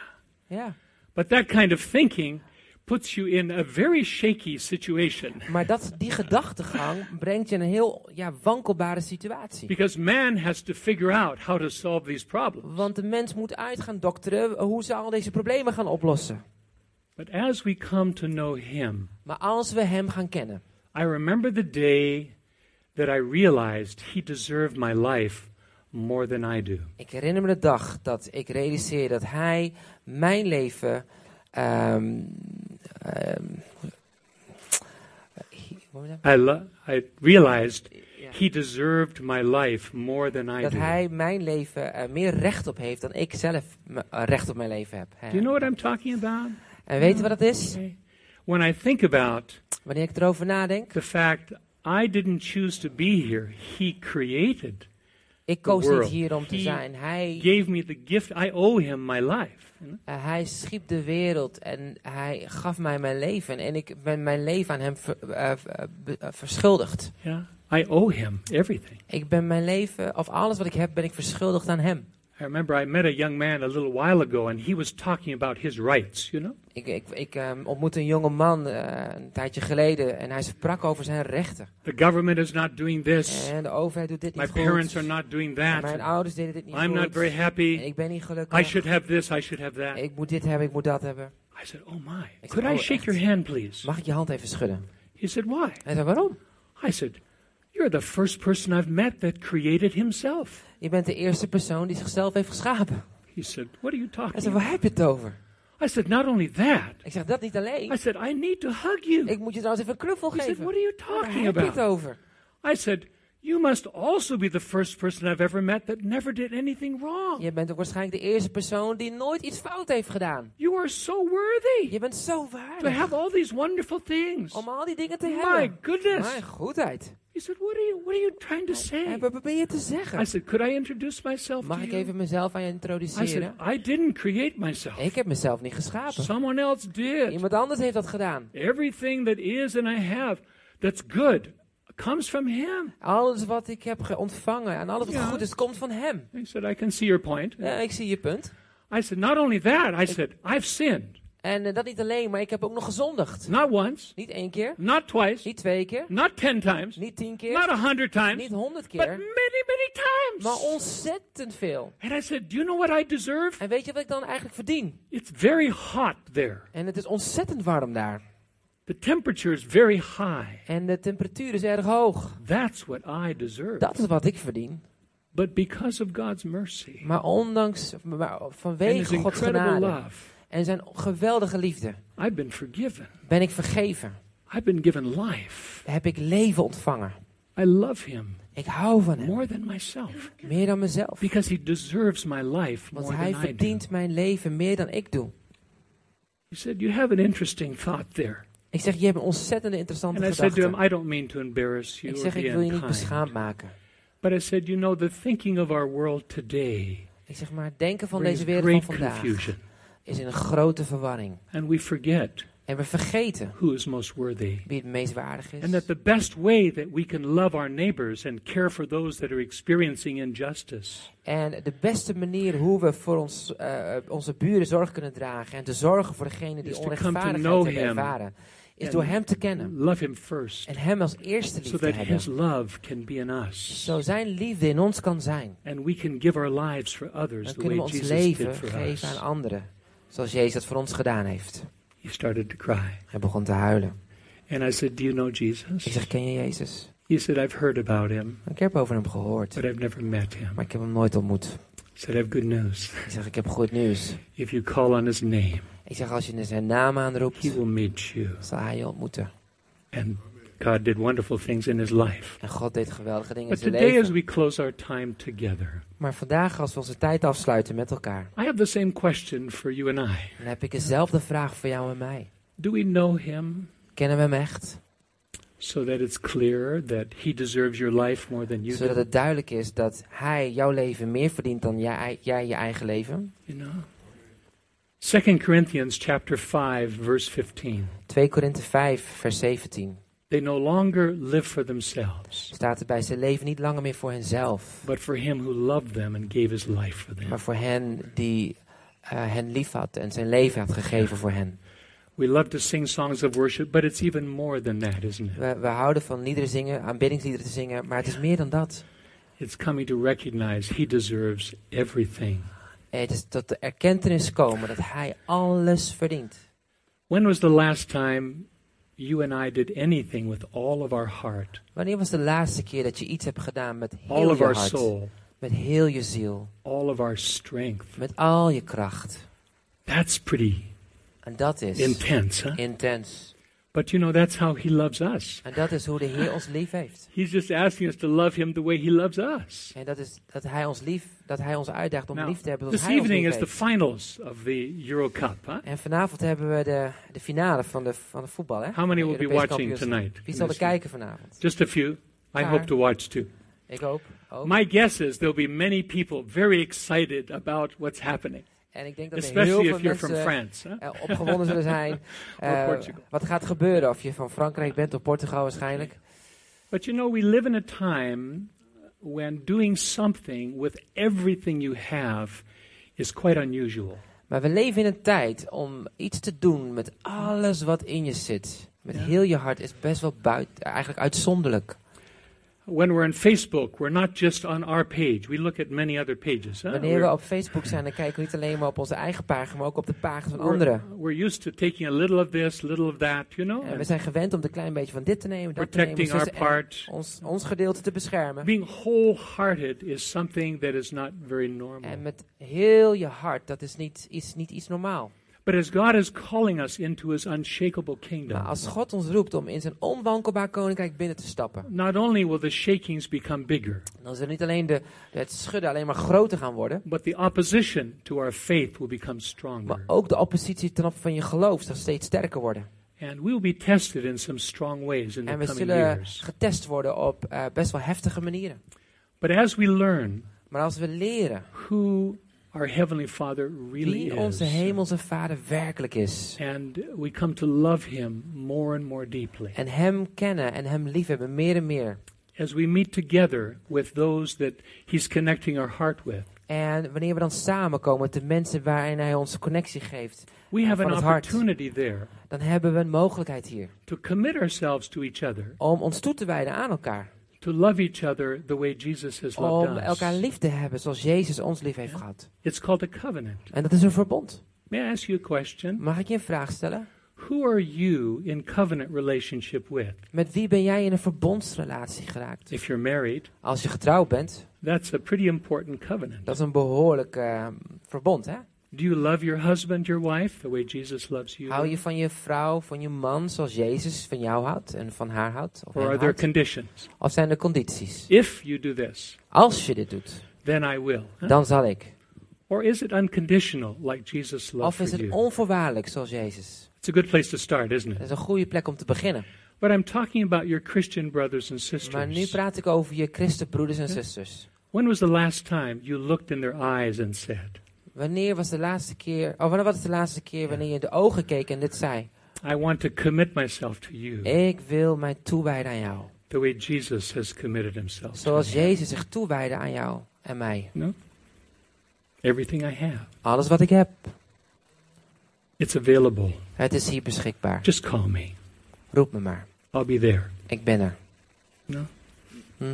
Speaker 2: Ja.
Speaker 1: But that kind of thinking puts you in a very shaky situation
Speaker 2: Maar dat, die gedachtegang brengt je in een heel ja, wankelbare situatie.
Speaker 1: because man has to figure out how to solve these problems.
Speaker 2: Want de mens moet uit gaan dokteren hoe ze al deze problemen gaan oplossen.
Speaker 1: But as we come to know him,
Speaker 2: Maar als we hem gaan kennen.
Speaker 1: I remember the day that I realized he deserved my life more than I do.
Speaker 2: Ik herinner me de dag dat ik realiseer dat hij mijn leven. ehm, ehm, eh, hoe heet dat?
Speaker 1: I, lo- I realized
Speaker 2: Ja.
Speaker 1: He deserved my life more than I
Speaker 2: dat
Speaker 1: do.
Speaker 2: hij mijn leven eh, meer recht op heeft dan ik zelf me- eh, recht op mijn leven heb.
Speaker 1: Do you know what I'm talking about?
Speaker 2: En weet je wat dat is?
Speaker 1: When I think about
Speaker 2: Wanneer ik erover nadenk,
Speaker 1: the fact I didn't choose to be here. He created,
Speaker 2: Ik
Speaker 1: The
Speaker 2: koos niet
Speaker 1: world.
Speaker 2: hier om te
Speaker 1: He
Speaker 2: zijn. Hij,
Speaker 1: gave me the gift. I owe him my life. you know?
Speaker 2: eh, hij schiep de wereld en hij gaf mij mijn leven. En ik ben mijn leven aan hem ver- eh, eh, be- eh, verschuldigd.
Speaker 1: Yeah, I owe him everything.
Speaker 2: Ik ben mijn leven, of alles wat ik heb, ben ik verschuldigd aan hem.
Speaker 1: I remember I met a young man a little while ago, and he was talking about his rights. You know,
Speaker 2: Ik, ik, ik ehm, ontmoette een jonge man eh, een tijdje geleden en hij sprak over zijn rechten.
Speaker 1: the government is not doing this.
Speaker 2: En de overheid doet dit
Speaker 1: My
Speaker 2: niet
Speaker 1: parents are
Speaker 2: goed.
Speaker 1: not doing
Speaker 2: En Mijn
Speaker 1: that.
Speaker 2: ouders deden dit niet
Speaker 1: I'm
Speaker 2: goed.
Speaker 1: not very
Speaker 2: En
Speaker 1: happy.
Speaker 2: ik ben niet gelukkig.
Speaker 1: I should have this. I should have that.
Speaker 2: Ik moet dit hebben, ik moet dat hebben.
Speaker 1: I said, "Oh my,
Speaker 2: Ik
Speaker 1: could
Speaker 2: zeg,
Speaker 1: I
Speaker 2: oh,
Speaker 1: shake
Speaker 2: echt?
Speaker 1: your hand, please?"
Speaker 2: Mag ik je hand even schudden?
Speaker 1: He said, "Why?"
Speaker 2: Hij zei, waarom?
Speaker 1: I said, "You're the first person I've met that created himself."
Speaker 2: Je bent de eerste persoon die zichzelf heeft geschapen.
Speaker 1: He said, "What are you
Speaker 2: Hij
Speaker 1: talking?"
Speaker 2: zei,
Speaker 1: about?
Speaker 2: waar heb je het over?
Speaker 1: I said, "Not only that."
Speaker 2: Ik zeg, dat niet
Speaker 1: I
Speaker 2: alleen.
Speaker 1: said, "I need to hug you."
Speaker 2: Ik moet je trouwens even een knuffel
Speaker 1: He said,
Speaker 2: geven.
Speaker 1: "What are you
Speaker 2: Waar
Speaker 1: talking
Speaker 2: heb je het
Speaker 1: about?"
Speaker 2: over?
Speaker 1: I said, You must also be the first person I've ever met that never did anything wrong.
Speaker 2: Je bent ook waarschijnlijk de eerste persoon die nooit iets fout heeft gedaan.
Speaker 1: You are so worthy
Speaker 2: Je bent zo
Speaker 1: to
Speaker 2: waardig
Speaker 1: have all these wonderful things.
Speaker 2: om al die dingen te
Speaker 1: Oh My
Speaker 2: hebben.
Speaker 1: goodness.
Speaker 2: Mijn goedheid.
Speaker 1: He said, What are you what are you trying to
Speaker 2: Hey,
Speaker 1: say?
Speaker 2: Wat probeer je te
Speaker 1: I
Speaker 2: zeggen?
Speaker 1: said, Could I introduce myself
Speaker 2: Mag
Speaker 1: to
Speaker 2: ik
Speaker 1: you?
Speaker 2: even mezelf aan je
Speaker 1: I said,
Speaker 2: introduceren?
Speaker 1: I didn't create myself.
Speaker 2: Ik heb mezelf niet geschapen.
Speaker 1: Someone else did.
Speaker 2: Iemand anders heeft dat gedaan.
Speaker 1: Everything that is and I have that's good comes from him.
Speaker 2: Alles wat ik heb ge- ontvangen en alles wat
Speaker 1: Ja.
Speaker 2: goed is, komt van hem.
Speaker 1: He said, I can see your point.
Speaker 2: Ja, ik zie je punt.
Speaker 1: I said, Not only that, I said, I've sinned.
Speaker 2: En eh, dat niet alleen, maar ik heb ook nog gezondigd.
Speaker 1: Not once,
Speaker 2: Niet één keer,
Speaker 1: not twice,
Speaker 2: niet twee keer,
Speaker 1: not ten times,
Speaker 2: niet tien keer,
Speaker 1: Not a hundred times,
Speaker 2: niet honderd
Speaker 1: but many,
Speaker 2: keer,
Speaker 1: many
Speaker 2: maar
Speaker 1: times.
Speaker 2: ontzettend veel.
Speaker 1: And I said, Do you know what I deserve?
Speaker 2: En weet je wat ik dan eigenlijk verdien?
Speaker 1: It's very hot there.
Speaker 2: En het is ontzettend warm daar.
Speaker 1: The temperature is very high.
Speaker 2: En de temperatuur is erg hoog.
Speaker 1: That's what I deserve.
Speaker 2: Dat is wat ik verdien.
Speaker 1: But because of God's mercy
Speaker 2: Maar ondanks, maar
Speaker 1: and His
Speaker 2: vanwege Gods
Speaker 1: incredible
Speaker 2: genade
Speaker 1: love,
Speaker 2: en zijn geweldige liefde,
Speaker 1: I've been forgiven.
Speaker 2: ben ik vergeven.
Speaker 1: I've been given life.
Speaker 2: Heb ik leven ontvangen.
Speaker 1: I love Him
Speaker 2: Ik hou van hem.
Speaker 1: more than myself
Speaker 2: Meer dan mezelf.
Speaker 1: because He deserves my life
Speaker 2: Want
Speaker 1: more
Speaker 2: hij
Speaker 1: than I do.
Speaker 2: verdient mijn leven meer dan ik doe.
Speaker 1: He said, You have an interesting thought there.
Speaker 2: Ik zeg, je hebt een ontzettend interessante
Speaker 1: And I said to him,
Speaker 2: gedachte.
Speaker 1: I don't mean to embarrass you
Speaker 2: Ik
Speaker 1: or
Speaker 2: zeg,
Speaker 1: be
Speaker 2: ik wil je niet
Speaker 1: unkind.
Speaker 2: beschaamd maken.
Speaker 1: But I said, you know, the thinking of our world today
Speaker 2: Ik zeg maar, het denken van
Speaker 1: brings
Speaker 2: deze wereld
Speaker 1: great
Speaker 2: van vandaag
Speaker 1: confusion,
Speaker 2: is in een grote verwarring.
Speaker 1: and we forget
Speaker 2: En we vergeten
Speaker 1: who is most worthy.
Speaker 2: wie het meest waardig
Speaker 1: And
Speaker 2: is.
Speaker 1: that the best way that we can love our neighbors and care for those that are experiencing injustice
Speaker 2: En de beste manier hoe we voor ons, eh, onze buren zorg kunnen dragen en te zorgen voor degene die
Speaker 1: Is to come to
Speaker 2: onrechtvaardigheid
Speaker 1: know
Speaker 2: hebben
Speaker 1: him.
Speaker 2: ervaren, is
Speaker 1: And
Speaker 2: door hem te kennen
Speaker 1: love him first,
Speaker 2: en hem als eerste
Speaker 1: so
Speaker 2: lief te
Speaker 1: that his
Speaker 2: hebben.
Speaker 1: love can be in us,
Speaker 2: Zo zijn liefde in ons kan zijn.
Speaker 1: and we can give our lives for
Speaker 2: Dan
Speaker 1: others the
Speaker 2: kunnen we
Speaker 1: way
Speaker 2: ons
Speaker 1: Jesus
Speaker 2: leven
Speaker 1: did for
Speaker 2: geven aan
Speaker 1: us.
Speaker 2: anderen, zoals Jezus dat voor ons gedaan heeft.
Speaker 1: He started to cry,
Speaker 2: Hij begon te huilen.
Speaker 1: and I said, "Do you know Jesus?"
Speaker 2: Ik zeg, ken je Jezus?
Speaker 1: He said, "I've heard about him,
Speaker 2: Ik heb over hem gehoord,
Speaker 1: but I've never met him."
Speaker 2: maar ik heb hem nooit ontmoet.
Speaker 1: He said, "I've good news.
Speaker 2: Ik zeg, ik heb goed nieuws.
Speaker 1: If you call on his name,
Speaker 2: Ik zeg, als je zijn naam aanroept,
Speaker 1: he will meet you."
Speaker 2: zal hij je ontmoeten.
Speaker 1: And God did wonderful things in his life.
Speaker 2: En God deed geweldige dingen in
Speaker 1: But
Speaker 2: zijn
Speaker 1: today, as
Speaker 2: leven.
Speaker 1: we close our time together,
Speaker 2: Maar vandaag, als we onze tijd afsluiten met elkaar,
Speaker 1: I have the same question for you and I.
Speaker 2: dan heb ik dezelfde vraag voor jou en mij.
Speaker 1: Do we know him
Speaker 2: Kennen we hem echt?
Speaker 1: so that it's clear that he deserves your life more than you
Speaker 2: Zodat
Speaker 1: do?
Speaker 2: het duidelijk is dat hij jouw leven meer verdient dan jij, jij je eigen leven.
Speaker 1: You know? 2 Corinthians chapter 5 verse 15.
Speaker 2: 2 Korinthe 5, vers 17.
Speaker 1: They no longer live for themselves,
Speaker 2: Staat erbij, ze leven niet langer meer voor henzelf,
Speaker 1: but for him who loved them and gave his life for them.
Speaker 2: maar voor hen die eh, hen lief had en zijn leven had gegeven voor hen.
Speaker 1: We love to sing songs of worship, but it's even more than that, isn't it?
Speaker 2: We, we houden van liederen zingen, aanbiddingsliederen te zingen, maar het is meer dan dat.
Speaker 1: It's coming to recognize he deserves everything.
Speaker 2: Eh, Het is tot de erkentenis komen dat hij alles verdient.
Speaker 1: When was the last time you and I did anything with all of our heart,
Speaker 2: Wanneer was de laatste keer dat je iets hebt gedaan met
Speaker 1: all
Speaker 2: heel
Speaker 1: of
Speaker 2: je
Speaker 1: our
Speaker 2: hart,
Speaker 1: soul,
Speaker 2: met heel je ziel,
Speaker 1: all of our strength?
Speaker 2: met al je kracht?
Speaker 1: That's pretty
Speaker 2: En dat is
Speaker 1: intense, huh?
Speaker 2: intens.
Speaker 1: But But you know, that's how He loves us.
Speaker 2: En dat is hoe de Heer ons lief heeft.
Speaker 1: He's just asking us to love Him the way He loves us.
Speaker 2: En dat is dat Hij ons lief, dat Hij ons uitdaagt om
Speaker 1: Now,
Speaker 2: lief te hebben zoals
Speaker 1: Nou, this
Speaker 2: Hij ons
Speaker 1: evening
Speaker 2: lief
Speaker 1: is the
Speaker 2: heeft.
Speaker 1: finals of the Euro Cup. Huh?
Speaker 2: En vanavond hebben we de, de finale van de, van de voetbal, hè?
Speaker 1: How many
Speaker 2: Van de
Speaker 1: will be
Speaker 2: Europese
Speaker 1: watching
Speaker 2: kampioenschap.
Speaker 1: tonight?
Speaker 2: Wie zal er kijken vanavond?
Speaker 1: Just a few. I
Speaker 2: Paar.
Speaker 1: hope to watch too.
Speaker 2: Ik hoop ook.
Speaker 1: My guess is there'll be many people very excited about what's happening,
Speaker 2: en ik denk dat er heel
Speaker 1: especially
Speaker 2: veel
Speaker 1: if you're from
Speaker 2: mensen
Speaker 1: France. huh?
Speaker 2: eh, opgewonden zullen zijn. Eh,
Speaker 1: Portugal.
Speaker 2: wat gaat gebeuren? Of je van Frankrijk bent of Portugal waarschijnlijk.
Speaker 1: But you know, we live in a time when doing something with everything you have is quite unusual.
Speaker 2: Maar we leven in een tijd om iets te doen met alles wat in je zit. Met
Speaker 1: Ja.
Speaker 2: heel je hart is best wel buiten, eigenlijk uitzonderlijk.
Speaker 1: When we're on Facebook, we're not just on our page. We look at many other pages. huh?
Speaker 2: Wanneer we op Facebook zijn, dan kijken we niet alleen maar op onze eigen pagina, maar ook op de pagina's van
Speaker 1: we're-
Speaker 2: anderen.
Speaker 1: we're used to taking a little of this, little of that, you know,
Speaker 2: En we
Speaker 1: and
Speaker 2: zijn gewend om een klein beetje van dit te nemen, dat te nemen,
Speaker 1: Oh, protecting our
Speaker 2: zus- en
Speaker 1: part.
Speaker 2: ons, ons gedeelte te beschermen.
Speaker 1: Being wholehearted is something that is not very normal.
Speaker 2: En met heel je hart, dat is niet iets, niet iets normaal.
Speaker 1: But as God is calling us into His unshakable
Speaker 2: Maar
Speaker 1: kingdom,
Speaker 2: als God ons roept om in zijn onwankelbaar koninkrijk binnen te stappen,
Speaker 1: not only will the shakings become bigger,
Speaker 2: dan zullen niet alleen de, het schudden alleen maar groter gaan worden,
Speaker 1: but the opposition to our faith will become
Speaker 2: maar
Speaker 1: stronger.
Speaker 2: ook de oppositie ten opzichte van je geloof zal steeds sterker worden.
Speaker 1: And we will be tested in some strong ways in
Speaker 2: En
Speaker 1: the
Speaker 2: we uh,
Speaker 1: coming
Speaker 2: zullen
Speaker 1: years.
Speaker 2: getest worden op eh, best wel heftige manieren.
Speaker 1: But as we learn
Speaker 2: Maar als we leren
Speaker 1: who our Heavenly Father really
Speaker 2: wie onze
Speaker 1: is,
Speaker 2: hemelse vader werkelijk is,
Speaker 1: and we come to love Him more and more deeply,
Speaker 2: en hem kennen en hem liefhebben meer en meer,
Speaker 1: as we meet together with those that He's connecting our heart with,
Speaker 2: En wanneer we dan samenkomen met de mensen waarin hij onze connectie geeft,
Speaker 1: we
Speaker 2: Ja,
Speaker 1: have an
Speaker 2: van het hart.
Speaker 1: opportunity there
Speaker 2: dan hebben we een mogelijkheid hier
Speaker 1: to commit ourselves to each other,
Speaker 2: om ons toe te wijden aan elkaar.
Speaker 1: to love each other the way Jesus has
Speaker 2: Om
Speaker 1: loved us.
Speaker 2: elkaar lief te hebben zoals Jezus ons lief heeft gehad.
Speaker 1: It's called a covenant.
Speaker 2: En dat is een verbond.
Speaker 1: May I ask you a question?
Speaker 2: Mag ik je een vraag stellen?
Speaker 1: Who are you in covenant relationship with?
Speaker 2: Met wie ben jij in een verbondsrelatie geraakt?
Speaker 1: If you're married,
Speaker 2: Als je getrouwd bent,
Speaker 1: That's a pretty important covenant.
Speaker 2: dat is een behoorlijk eh, verbond, hè?
Speaker 1: Do you love your husband, your wife, the way Jesus loves you?
Speaker 2: Hou je van je vrouw, van je man, zoals Jezus van jou houdt en van haar houdt? Of,
Speaker 1: or
Speaker 2: hem
Speaker 1: are there
Speaker 2: houdt?
Speaker 1: conditions?
Speaker 2: of zijn er condities?
Speaker 1: If you do this,
Speaker 2: Als je dit doet,
Speaker 1: then I will. huh?
Speaker 2: dan zal ik.
Speaker 1: Or is it unconditional, like Jesus' love
Speaker 2: Of
Speaker 1: for
Speaker 2: is het
Speaker 1: you?
Speaker 2: onvoorwaardelijk, zoals Jezus?
Speaker 1: It's a good place to start, isn't
Speaker 2: Dat
Speaker 1: it?
Speaker 2: is een goede plek om te beginnen.
Speaker 1: But I'm talking about your Christian brothers and
Speaker 2: Maar nu
Speaker 1: sisters.
Speaker 2: praat ik over je christenbroeders en zusters.
Speaker 1: When was the last time you looked in their eyes and said,
Speaker 2: Wanneer was de laatste keer, oh, wanneer was het de laatste keer wanneer je in de ogen keek en dit zei?
Speaker 1: I want to commit myself to you
Speaker 2: Ik wil mij toewijden aan jou.
Speaker 1: the way Jesus has committed himself? to
Speaker 2: Zoals
Speaker 1: me.
Speaker 2: Jezus zich toewijde aan jou en mij.
Speaker 1: No? Everything I have,
Speaker 2: Alles wat ik heb,
Speaker 1: it's available.
Speaker 2: het is hier beschikbaar.
Speaker 1: Just call me.
Speaker 2: Roep me maar.
Speaker 1: I'll be there.
Speaker 2: Ik ben er.
Speaker 1: No?
Speaker 2: Hm?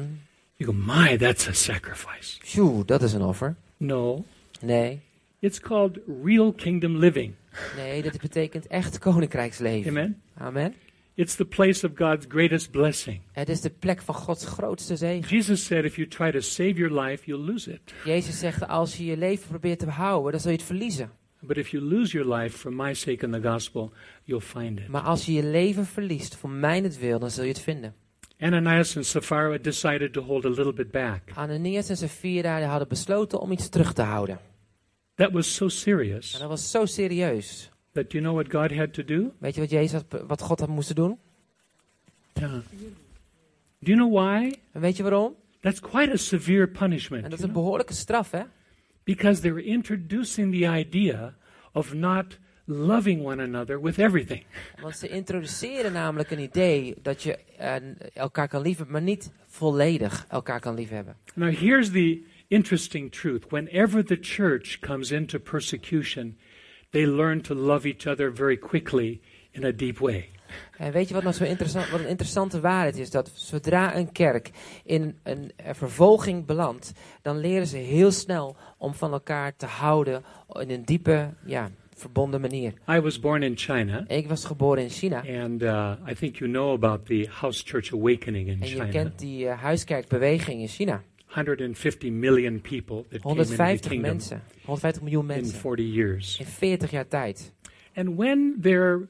Speaker 1: You go, my, that's a sacrifice.
Speaker 2: Sjoe, dat is een offer.
Speaker 1: No,
Speaker 2: Nee,
Speaker 1: it's called real kingdom living.
Speaker 2: nee, dit betekent echt koninkrijksleven.
Speaker 1: Amen.
Speaker 2: Amen.
Speaker 1: It's the place of God's greatest blessing.
Speaker 2: Het is de plek van Gods grootste zegen.
Speaker 1: Jesus said, if you try to save your life, you'll lose it.
Speaker 2: Jezus zegt, als je je leven probeert te behouden, dan zul je het verliezen.
Speaker 1: But if you lose your life for my sake and the gospel, you'll find it.
Speaker 2: Maar als je je leven verliest voor mijn het wil, dan zul je het vinden.
Speaker 1: Ananias and Sapphira decided to hold a little bit back.
Speaker 2: Ananias en Sapphira die hadden besloten om iets terug te houden.
Speaker 1: That was so
Speaker 2: En
Speaker 1: serious
Speaker 2: dat was zo serieus.
Speaker 1: that you know what God had to do?
Speaker 2: Weet je wat, Jezus had, wat God had moeten doen?
Speaker 1: Yeah. Do you know why?
Speaker 2: En weet je waarom?
Speaker 1: That's quite a severe
Speaker 2: En
Speaker 1: punishment.
Speaker 2: dat is
Speaker 1: you
Speaker 2: een
Speaker 1: know?
Speaker 2: behoorlijke straf, hè?
Speaker 1: Because they were introducing the idea of not loving one another with everything.
Speaker 2: Want ze introduceren namelijk een idee dat je eh, elkaar kan liefhebben, maar niet volledig elkaar kan liefhebben.
Speaker 1: Now, here's the interesting truth. Whenever the church comes into persecution, they learn to love each other very quickly in a deep way.
Speaker 2: En weet je wat nog zo interessant, wat een interessante waarheid is? Dat zodra een kerk in een eh, vervolging belandt, dan leren ze heel snel om van elkaar te houden in een diepe, ja, verbonden manier.
Speaker 1: I was born in China,
Speaker 2: Ik was geboren in China
Speaker 1: and uh, I think you know about the house church awakening in
Speaker 2: en je
Speaker 1: China.
Speaker 2: kent die eh, huiskerkbeweging in China.
Speaker 1: 150 million people that came into the
Speaker 2: 150
Speaker 1: kingdom
Speaker 2: mensen, 150 miljoen
Speaker 1: in
Speaker 2: mensen
Speaker 1: 40 years.
Speaker 2: in 40 jaar tijd.
Speaker 1: And when their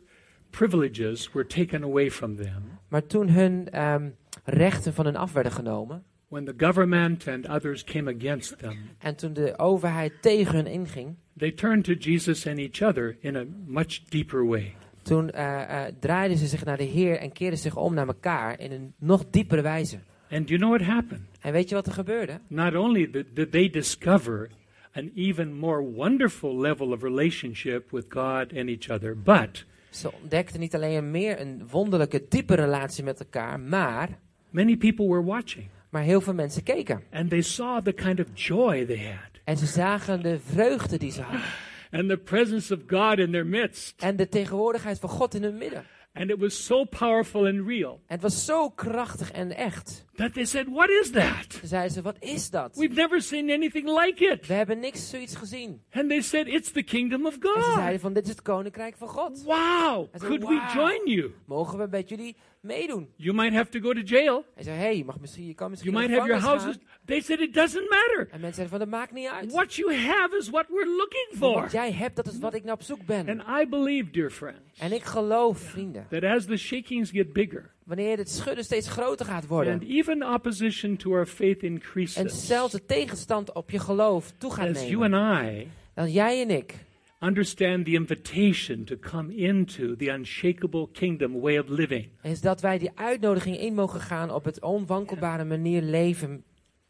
Speaker 1: privileges were taken away from them,
Speaker 2: Maar toen hun ehm, rechten van hun af werden genomen
Speaker 1: when the government and others came against them,
Speaker 2: en toen de overheid tegen hun inging,
Speaker 1: they turned to Jesus and each other in a much deeper way.
Speaker 2: toen eh, eh, draaiden ze zich naar de Heer en keerden zich om naar elkaar in een nog diepere wijze.
Speaker 1: And do you know what happened?
Speaker 2: En weet je wat er gebeurde?
Speaker 1: Not only did did they discover an even more wonderful level of relationship with God and each other, but
Speaker 2: Ze ontdekten niet alleen meer een wonderlijke, diepe relatie met elkaar, maar,
Speaker 1: many people were watching
Speaker 2: maar heel veel mensen keken.
Speaker 1: and they saw the kind of joy they had
Speaker 2: En ze zagen de vreugde die ze hadden.
Speaker 1: and the presence of God in their midst.
Speaker 2: En de tegenwoordigheid van God in hun midden.
Speaker 1: And it was so powerful and real
Speaker 2: En het was zo krachtig en echt.
Speaker 1: that they said, What is that?
Speaker 2: Toen zeiden ze, wat is dat?
Speaker 1: We've never seen anything like it.
Speaker 2: We hebben niks zoiets gezien.
Speaker 1: And they said, It's the kingdom of
Speaker 2: En ze
Speaker 1: God.
Speaker 2: zeiden van, dit is het koninkrijk van God.
Speaker 1: Wow,
Speaker 2: I said,
Speaker 1: could we
Speaker 2: "Wow."
Speaker 1: join you?
Speaker 2: Mogen we met jullie meedoen?
Speaker 1: You might have to go to jail.
Speaker 2: Hij zei, hé, hey, je, mag misschien- je kan
Speaker 1: You
Speaker 2: misschien naar
Speaker 1: might
Speaker 2: de
Speaker 1: have your
Speaker 2: gevangenis
Speaker 1: houses.
Speaker 2: gaan.
Speaker 1: They said, It doesn't matter.
Speaker 2: En mensen zeiden van, dat maakt niet uit.
Speaker 1: What you have is what we're looking for.
Speaker 2: Wat jij hebt, dat is wat ik naar op zoek
Speaker 1: And
Speaker 2: ben.
Speaker 1: I believe, dear friends,
Speaker 2: En ik geloof, vrienden,
Speaker 1: that as the shakings get bigger
Speaker 2: wanneer het schudden steeds groter gaat
Speaker 1: and
Speaker 2: worden...
Speaker 1: even opposition to our faith
Speaker 2: en
Speaker 1: increases,
Speaker 2: zelfs de tegenstand op je geloof toe gaat
Speaker 1: as you
Speaker 2: nemen...
Speaker 1: and I
Speaker 2: dan jij en ik
Speaker 1: understand the invitation to come into the unshakable kingdom way of living.
Speaker 2: is dat wij die uitnodiging in mogen gaan op het onwankelbare manier leven,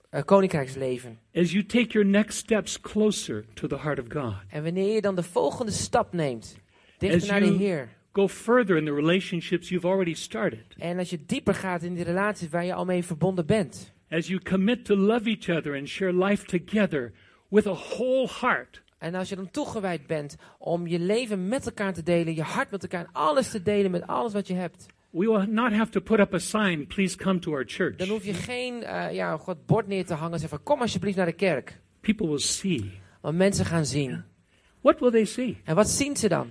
Speaker 2: eh, koninkrijksleven.
Speaker 1: As you take your next steps closer to the heart of God,
Speaker 2: En wanneer je dan de volgende stap neemt, dichter
Speaker 1: As
Speaker 2: naar de
Speaker 1: you-
Speaker 2: Heer.
Speaker 1: go further in the relationships you've already started.
Speaker 2: En als je dieper gaat in die relatie waar je al mee verbonden bent.
Speaker 1: As you commit to love each other and share life together with a whole heart,
Speaker 2: En als je dan toegewijd bent om je leven met elkaar te delen, je hart met elkaar, alles te delen met alles wat je hebt.
Speaker 1: we will not have to put up a sign, please come to our church.
Speaker 2: Dan hoef je geen eh, ja, God, bord neer te hangen en zeggen van kom alsjeblieft naar de kerk.
Speaker 1: People will see.
Speaker 2: Want mensen gaan zien.
Speaker 1: What will they see?
Speaker 2: En wat zien ze dan?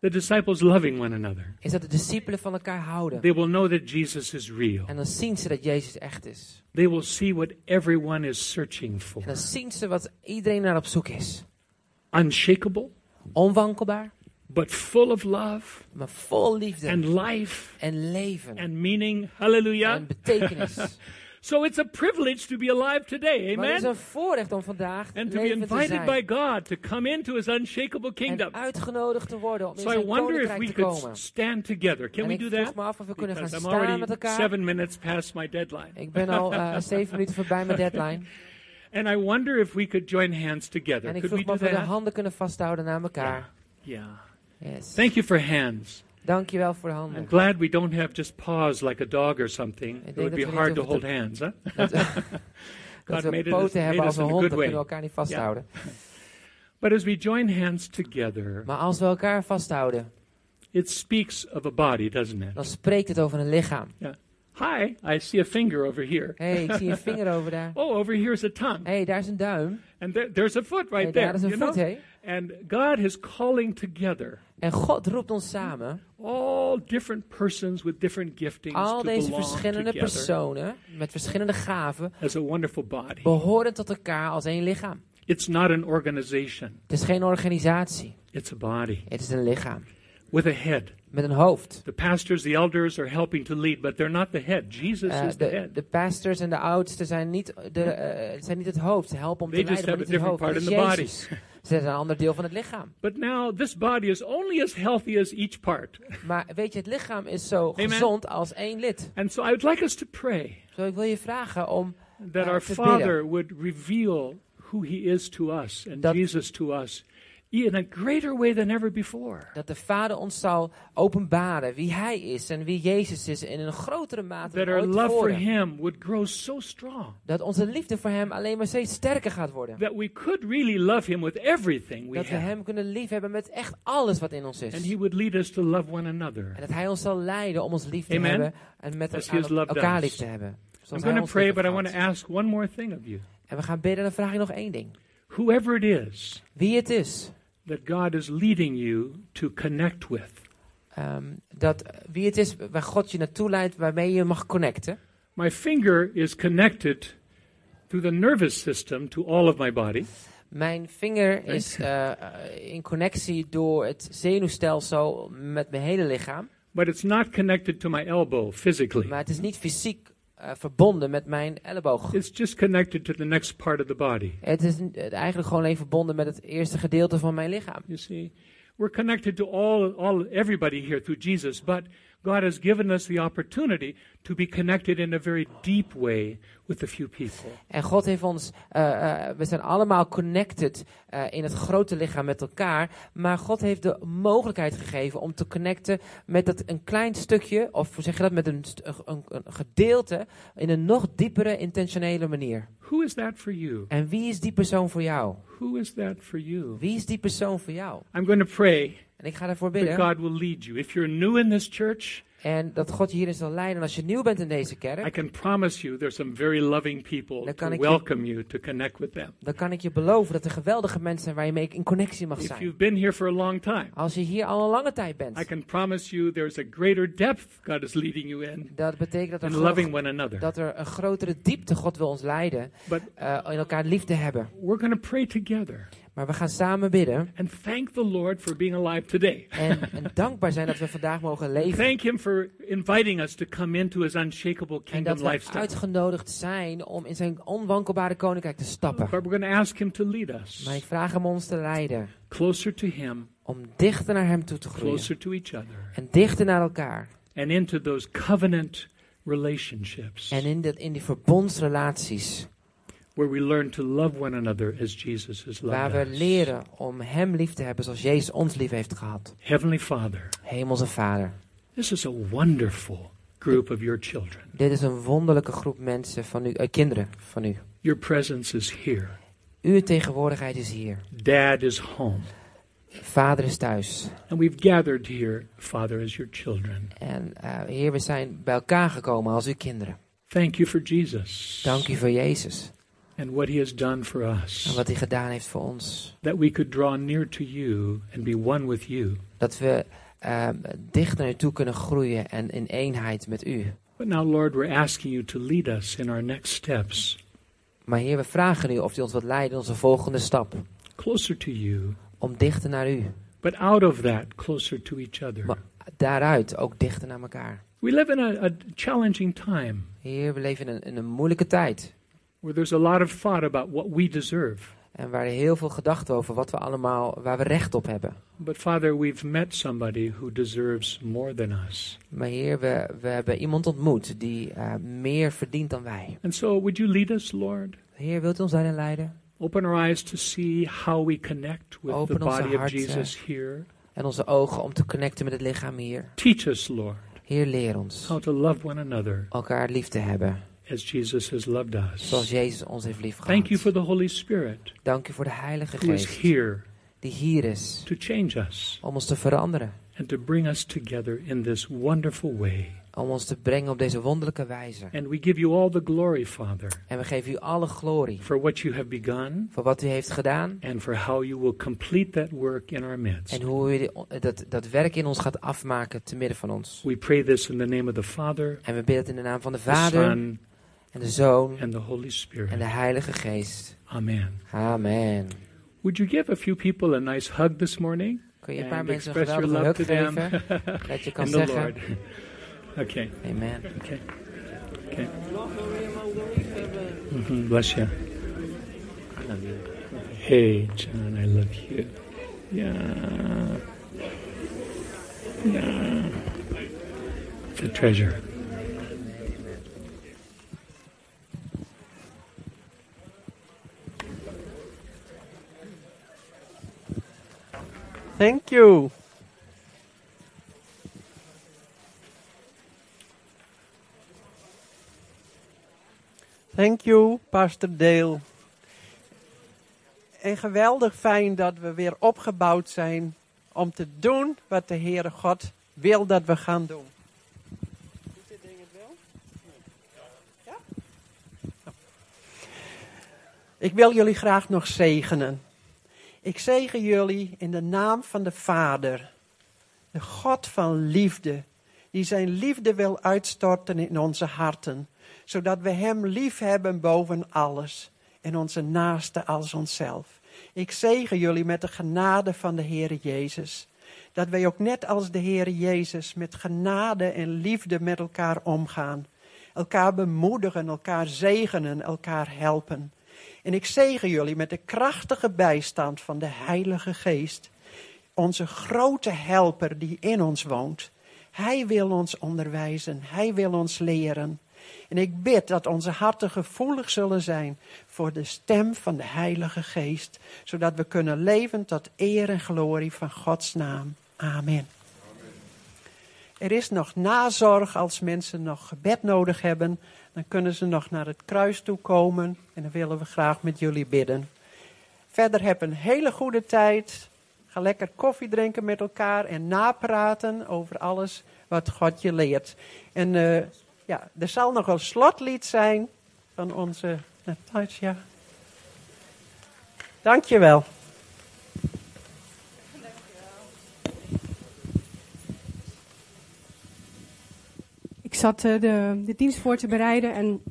Speaker 1: The disciples loving one another.
Speaker 2: Is dat de discipelen van elkaar houden.
Speaker 1: They will know that Jesus is real.
Speaker 2: En dan zien ze dat Jezus echt is.
Speaker 1: They will see what everyone is searching
Speaker 2: En
Speaker 1: for.
Speaker 2: dan zien ze wat iedereen naar op zoek is.
Speaker 1: Unshakable,
Speaker 2: Onwankelbaar,
Speaker 1: but full of love
Speaker 2: maar vol liefde
Speaker 1: and life
Speaker 2: en leven
Speaker 1: and meaning. Hallelujah.
Speaker 2: en betekenis. Maar
Speaker 1: So it's a privilege to be alive today.
Speaker 2: het is
Speaker 1: Amen.
Speaker 2: een voorrecht om vandaag
Speaker 1: And to be
Speaker 2: levend te
Speaker 1: invited by
Speaker 2: zijn.
Speaker 1: God to come into his unshakable kingdom.
Speaker 2: En uitgenodigd te worden om in
Speaker 1: So I
Speaker 2: zijn
Speaker 1: wonder if
Speaker 2: koninkrijk
Speaker 1: we
Speaker 2: te
Speaker 1: could
Speaker 2: komen.
Speaker 1: s- stand together. Can
Speaker 2: en
Speaker 1: we
Speaker 2: ik
Speaker 1: do
Speaker 2: vroeg
Speaker 1: that?
Speaker 2: me af of we kunnen gaan
Speaker 1: Because I'm
Speaker 2: staan met
Speaker 1: already
Speaker 2: elkaar.
Speaker 1: seven minutes past my deadline.
Speaker 2: Ik ben al eh, zeven minuten voorbij mijn deadline.
Speaker 1: And I wonder if we could join hands together.
Speaker 2: En ik
Speaker 1: Could
Speaker 2: vroeg
Speaker 1: we
Speaker 2: me
Speaker 1: do
Speaker 2: of we de
Speaker 1: that?
Speaker 2: handen kunnen vasthouden aan elkaar.
Speaker 1: Yeah.
Speaker 2: Yes.
Speaker 1: Thank you for hands.
Speaker 2: Dankjewel voor de
Speaker 1: I'm
Speaker 2: handen.
Speaker 1: glad we don't have just paws like a dog or something. It
Speaker 2: denk
Speaker 1: would
Speaker 2: dat
Speaker 1: be
Speaker 2: we niet
Speaker 1: hard to
Speaker 2: hoeven te-
Speaker 1: hold hands, huh?
Speaker 2: Dat,
Speaker 1: God
Speaker 2: dat we
Speaker 1: made us-
Speaker 2: poten
Speaker 1: made
Speaker 2: hebben
Speaker 1: us
Speaker 2: als
Speaker 1: in
Speaker 2: een
Speaker 1: a
Speaker 2: hond,
Speaker 1: good
Speaker 2: dan kunnen we
Speaker 1: way.
Speaker 2: elkaar niet vasthouden.
Speaker 1: But as we join hands together,
Speaker 2: Maar als we elkaar vasthouden,
Speaker 1: it speaks of a body, doesn't it?
Speaker 2: dan spreekt het over een lichaam.
Speaker 1: Hi, I see a finger over here.
Speaker 2: Hé, hey, ik zie een vinger over daar.
Speaker 1: Oh, over here's a tongue.
Speaker 2: Hé, hey, daar is een duim.
Speaker 1: And there, there's a foot right
Speaker 2: Hey,
Speaker 1: there.
Speaker 2: daar is
Speaker 1: you
Speaker 2: een
Speaker 1: know?
Speaker 2: voet, hé.
Speaker 1: And God is calling together
Speaker 2: En God roept ons samen,
Speaker 1: all different persons with different giftings
Speaker 2: al
Speaker 1: to
Speaker 2: deze
Speaker 1: belong
Speaker 2: verschillende
Speaker 1: together
Speaker 2: personen met verschillende gaven,
Speaker 1: as a wonderful body.
Speaker 2: behoren tot elkaar als één lichaam.
Speaker 1: It's not an organization.
Speaker 2: Het is geen organisatie,
Speaker 1: It's a body
Speaker 2: het is een lichaam.
Speaker 1: with a head.
Speaker 2: Met een hoofd.
Speaker 1: The pastors, the elders are helping to lead, but they're not the head. Jesus
Speaker 2: Eh,
Speaker 1: is the
Speaker 2: de,
Speaker 1: head.
Speaker 2: de pastors en de oudsten zijn niet, de, eh, zijn niet het hoofd. Ze helpen om
Speaker 1: They
Speaker 2: te
Speaker 1: just
Speaker 2: leiden, maar niet
Speaker 1: have
Speaker 2: het
Speaker 1: a
Speaker 2: hoofd. Dat is
Speaker 1: different part in the
Speaker 2: Jezus. Ze zijn een ander deel van het lichaam.
Speaker 1: But now this body is only as healthy as each part.
Speaker 2: Maar weet je, het lichaam is zo
Speaker 1: Amen.
Speaker 2: gezond als één lid.
Speaker 1: And so I would like us to pray
Speaker 2: Zo, ik wil je vragen om
Speaker 1: that
Speaker 2: Uh,
Speaker 1: our
Speaker 2: to be
Speaker 1: Father would reveal who He is to us and
Speaker 2: Dat-
Speaker 1: Jesus to us in a greater way than ever before.
Speaker 2: Dat de Vader ons zal openbaren wie Hij is en wie Jezus is in een grotere mate
Speaker 1: That
Speaker 2: dan
Speaker 1: our
Speaker 2: ooit
Speaker 1: love for
Speaker 2: tevoren.
Speaker 1: Him would grow so strong
Speaker 2: Dat onze liefde voor Hem alleen maar steeds sterker gaat worden.
Speaker 1: that we could really love Him with everything we
Speaker 2: Dat we
Speaker 1: have.
Speaker 2: Hem kunnen liefhebben met echt alles wat in ons is.
Speaker 1: And He would lead us to love one another.
Speaker 2: En dat Hij ons zal leiden om ons lief te
Speaker 1: Amen.
Speaker 2: hebben en met
Speaker 1: As
Speaker 2: aan
Speaker 1: He has loved
Speaker 2: elkaar
Speaker 1: us.
Speaker 2: lief te hebben.
Speaker 1: I'm
Speaker 2: Zoals Hij
Speaker 1: going to
Speaker 2: ons
Speaker 1: pray,
Speaker 2: lief
Speaker 1: but I
Speaker 2: heeft
Speaker 1: want to
Speaker 2: gehad.
Speaker 1: ask one more thing of you.
Speaker 2: En we gaan bidden en dan vraag ik nog één ding.
Speaker 1: Whoever it is
Speaker 2: Wie het is,
Speaker 1: that God is leading you to connect with,
Speaker 2: ehm, dat, eh, wie het is waar God je naartoe leidt, waarmee je mag connecten.
Speaker 1: my finger is connected through the nervous system to all of my body.
Speaker 2: Mijn vinger is eh, eh, in connectie door het zenuwstelsel met mijn hele lichaam.
Speaker 1: but it's not connected to my elbow physically.
Speaker 2: Maar het is niet fysiek eh, verbonden met mijn elleboog.
Speaker 1: It's just connected to the next part of the body.
Speaker 2: Het is n- eh, eigenlijk gewoon alleen verbonden met het eerste gedeelte van mijn lichaam.
Speaker 1: You see, we're connected to all, all everybody here through Jesus, but God has given us the opportunity to be connected in a very deep way with a few people.
Speaker 2: En God heeft ons, eh, eh, we zijn allemaal connected eh, in het grote lichaam met elkaar. Maar God heeft de mogelijkheid gegeven om te connecten met dat een klein stukje, of hoe zeg je dat, met een, st- een, een gedeelte in een nog diepere, intentionele manier.
Speaker 1: Who is that for you?
Speaker 2: En wie is die persoon voor jou?
Speaker 1: Who is that for you?
Speaker 2: Wie is die persoon voor jou?
Speaker 1: I'm going to pray
Speaker 2: En ik ga daarvoor
Speaker 1: that
Speaker 2: bidden.
Speaker 1: God will lead you. If you're new in this church,
Speaker 2: En dat God je hierin zal leiden. En als je nieuw bent in deze
Speaker 1: I
Speaker 2: kerk,
Speaker 1: can promise you there's some very loving people
Speaker 2: Dan kan
Speaker 1: to
Speaker 2: ik je-
Speaker 1: welcome you to connect with them.
Speaker 2: dan kan ik je beloven dat er geweldige mensen zijn waar je mee in connectie mag
Speaker 1: If
Speaker 2: zijn.
Speaker 1: you've been here for a long time,
Speaker 2: Als je hier al een lange tijd
Speaker 1: I
Speaker 2: bent,
Speaker 1: can promise you there's a greater depth God is leading you in
Speaker 2: dat betekent dat
Speaker 1: in
Speaker 2: er, gro-
Speaker 1: loving one another.
Speaker 2: dat er een grotere diepte God wil ons leiden.
Speaker 1: But
Speaker 2: eh, in elkaar liefde hebben.
Speaker 1: we're going to pray together.
Speaker 2: Maar we gaan samen bidden.
Speaker 1: and thank the Lord for being alive today.
Speaker 2: En, en dankbaar zijn dat we vandaag mogen leven.
Speaker 1: Thank Him for inviting us to come into His unshakable
Speaker 2: En
Speaker 1: kingdom
Speaker 2: dat we
Speaker 1: lifestyle.
Speaker 2: uitgenodigd zijn om in zijn onwankelbare koninkrijk te stappen.
Speaker 1: But we're going to ask Him to lead us
Speaker 2: Maar ik vraag hem ons te leiden.
Speaker 1: closer to Him,
Speaker 2: Om dichter naar hem toe te groeien.
Speaker 1: closer to each other,
Speaker 2: En dichter naar elkaar.
Speaker 1: and into those covenant relationships
Speaker 2: En in, dat, in die verbondsrelaties.
Speaker 1: where we learn to love one another as Jesus has
Speaker 2: Waar
Speaker 1: loved
Speaker 2: we
Speaker 1: us.
Speaker 2: leren om hem lief te hebben zoals Jezus ons lief heeft gehad.
Speaker 1: Heavenly Father,
Speaker 2: Hemelse Vader.
Speaker 1: this is a wonderful group of your children.
Speaker 2: Dit is een wonderlijke groep mensen van u, eh, kinderen van u.
Speaker 1: Your presence is here.
Speaker 2: Uw tegenwoordigheid is hier.
Speaker 1: Dad is home.
Speaker 2: Vader is thuis.
Speaker 1: And we've gathered here, Father, as your children.
Speaker 2: En eh, Heer, we zijn bij elkaar gekomen als uw kinderen.
Speaker 1: Thank you for Jesus.
Speaker 2: Dank u voor Jezus
Speaker 1: and what he has done for
Speaker 2: en
Speaker 1: us,
Speaker 2: wat hij gedaan heeft voor ons.
Speaker 1: that we could draw near to you and be one with you.
Speaker 2: Dat we eh, dicht naar u toe kunnen groeien en in eenheid met u.
Speaker 1: But now, Lord, we're asking you to lead us in our next steps,
Speaker 2: Maar Heer, we vragen u of u ons wilt leiden in onze volgende stap.
Speaker 1: closer to you,
Speaker 2: Om dichter naar u.
Speaker 1: but out of that, closer to each other.
Speaker 2: Maar daaruit ook dichter naar elkaar.
Speaker 1: We live in a, a challenging time
Speaker 2: Heer, we leven in een, in een moeilijke tijd.
Speaker 1: where there's a lot of thought about what we deserve.
Speaker 2: En waar heel veel gedachten over wat we allemaal, waar we recht op hebben.
Speaker 1: But, Father, we've met somebody who deserves more than us.
Speaker 2: Maar Heer, we, we hebben iemand ontmoet die eh, meer verdient dan wij.
Speaker 1: And so, would you lead us, Lord?
Speaker 2: Heer, wilt u ons daarin leiden?
Speaker 1: Open our eyes to see how we connect with
Speaker 2: Open
Speaker 1: the
Speaker 2: onze
Speaker 1: body of
Speaker 2: harten.
Speaker 1: Jesus here.
Speaker 2: en onze ogen om te connecten met het lichaam hier.
Speaker 1: Teach us, Lord,
Speaker 2: Heer, leer ons
Speaker 1: how to love one another.
Speaker 2: elkaar lief te hebben,
Speaker 1: as Jesus has loved
Speaker 2: zoals
Speaker 1: us.
Speaker 2: Jezus ons heeft lief
Speaker 1: Thank you for
Speaker 2: gehad.
Speaker 1: the Holy Spirit
Speaker 2: Dank u voor de Heilige
Speaker 1: who is
Speaker 2: Geest
Speaker 1: here
Speaker 2: die hier is
Speaker 1: to change us
Speaker 2: om ons te veranderen,
Speaker 1: and to bring us together in this wonderful way.
Speaker 2: om ons te brengen op deze wonderlijke wijze.
Speaker 1: And we give you all the glory, Father,
Speaker 2: En we geven u alle glorie
Speaker 1: for what you have begun
Speaker 2: voor wat u heeft gedaan
Speaker 1: and for how you will complete that work in our midst.
Speaker 2: en hoe u die- dat, dat werk in ons gaat afmaken te midden van ons.
Speaker 1: We pray this in the name of the Father,
Speaker 2: En we bidden het in de naam van de
Speaker 1: the
Speaker 2: Vader
Speaker 1: Son,
Speaker 2: en de Zoon
Speaker 1: and the Holy
Speaker 2: en de
Speaker 1: Spirit.
Speaker 2: Heilige Geest.
Speaker 1: Amen.
Speaker 2: Amen.
Speaker 1: Would you give a few people a nice hug this morning
Speaker 2: Kun je een paar
Speaker 1: and
Speaker 2: mensen een
Speaker 1: express your
Speaker 2: geweldige
Speaker 1: love
Speaker 2: huk
Speaker 1: to them
Speaker 2: geven? Dat je kan
Speaker 1: and the
Speaker 2: zeggen,
Speaker 1: Lord? Okay,
Speaker 2: amen.
Speaker 1: okay, okay. Mhm, Bless you.
Speaker 2: I love you.
Speaker 1: Hey, John, I love you. Yeah. Yeah. It's a treasure.
Speaker 3: Thank you. Thank you, Pastor Dale. En geweldig fijn dat we weer opgebouwd zijn om te doen wat de Heere God wil dat we gaan doen. Doet dit ding het wel? Ja? Nou. Ik wil jullie graag nog zegenen. Ik zegen jullie in de naam van de Vader, de God van liefde, die zijn liefde wil uitstorten in onze harten, zodat we Hem lief hebben boven alles en onze naaste als onszelf. Ik zegen jullie met de genade van de Heere Jezus. Dat wij ook net als de Heere Jezus met genade en liefde met elkaar omgaan. Elkaar bemoedigen, elkaar zegenen, elkaar helpen. En ik zegen jullie met de krachtige bijstand van de Heilige Geest. Onze grote helper die in ons woont. Hij wil ons onderwijzen, hij wil ons leren. En ik bid dat onze harten gevoelig zullen zijn voor de stem van de Heilige Geest, zodat we kunnen leven tot eer en glorie van Gods naam. Amen. Er is nog nazorg als mensen nog gebed nodig hebben. Dan kunnen ze nog naar het kruis toe komen en dan willen we graag met jullie bidden. Verder heb een hele goede tijd. Ga lekker koffie drinken met elkaar en napraten over alles wat God je leert. En eh, ja, er zal nog een slotlied zijn van onze Natasja. Dankjewel.
Speaker 4: Ik zat eh, de, de dienst voor te bereiden en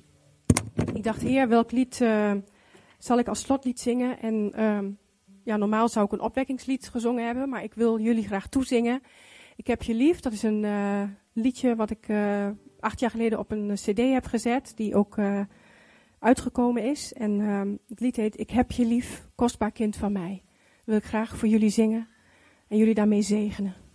Speaker 4: ik dacht, heer, welk lied eh, zal ik als slotlied zingen? En ehm, ja, normaal zou ik een opwekkingslied gezongen hebben, maar ik wil jullie graag toezingen. Ik heb je lief, dat is een eh, liedje wat ik eh, acht jaar geleden op een eh, cd heb gezet, die ook eh, uitgekomen is. En ehm, het lied heet Ik heb je lief, kostbaar kind van mij. Dat wil ik graag voor jullie zingen en jullie daarmee zegenen.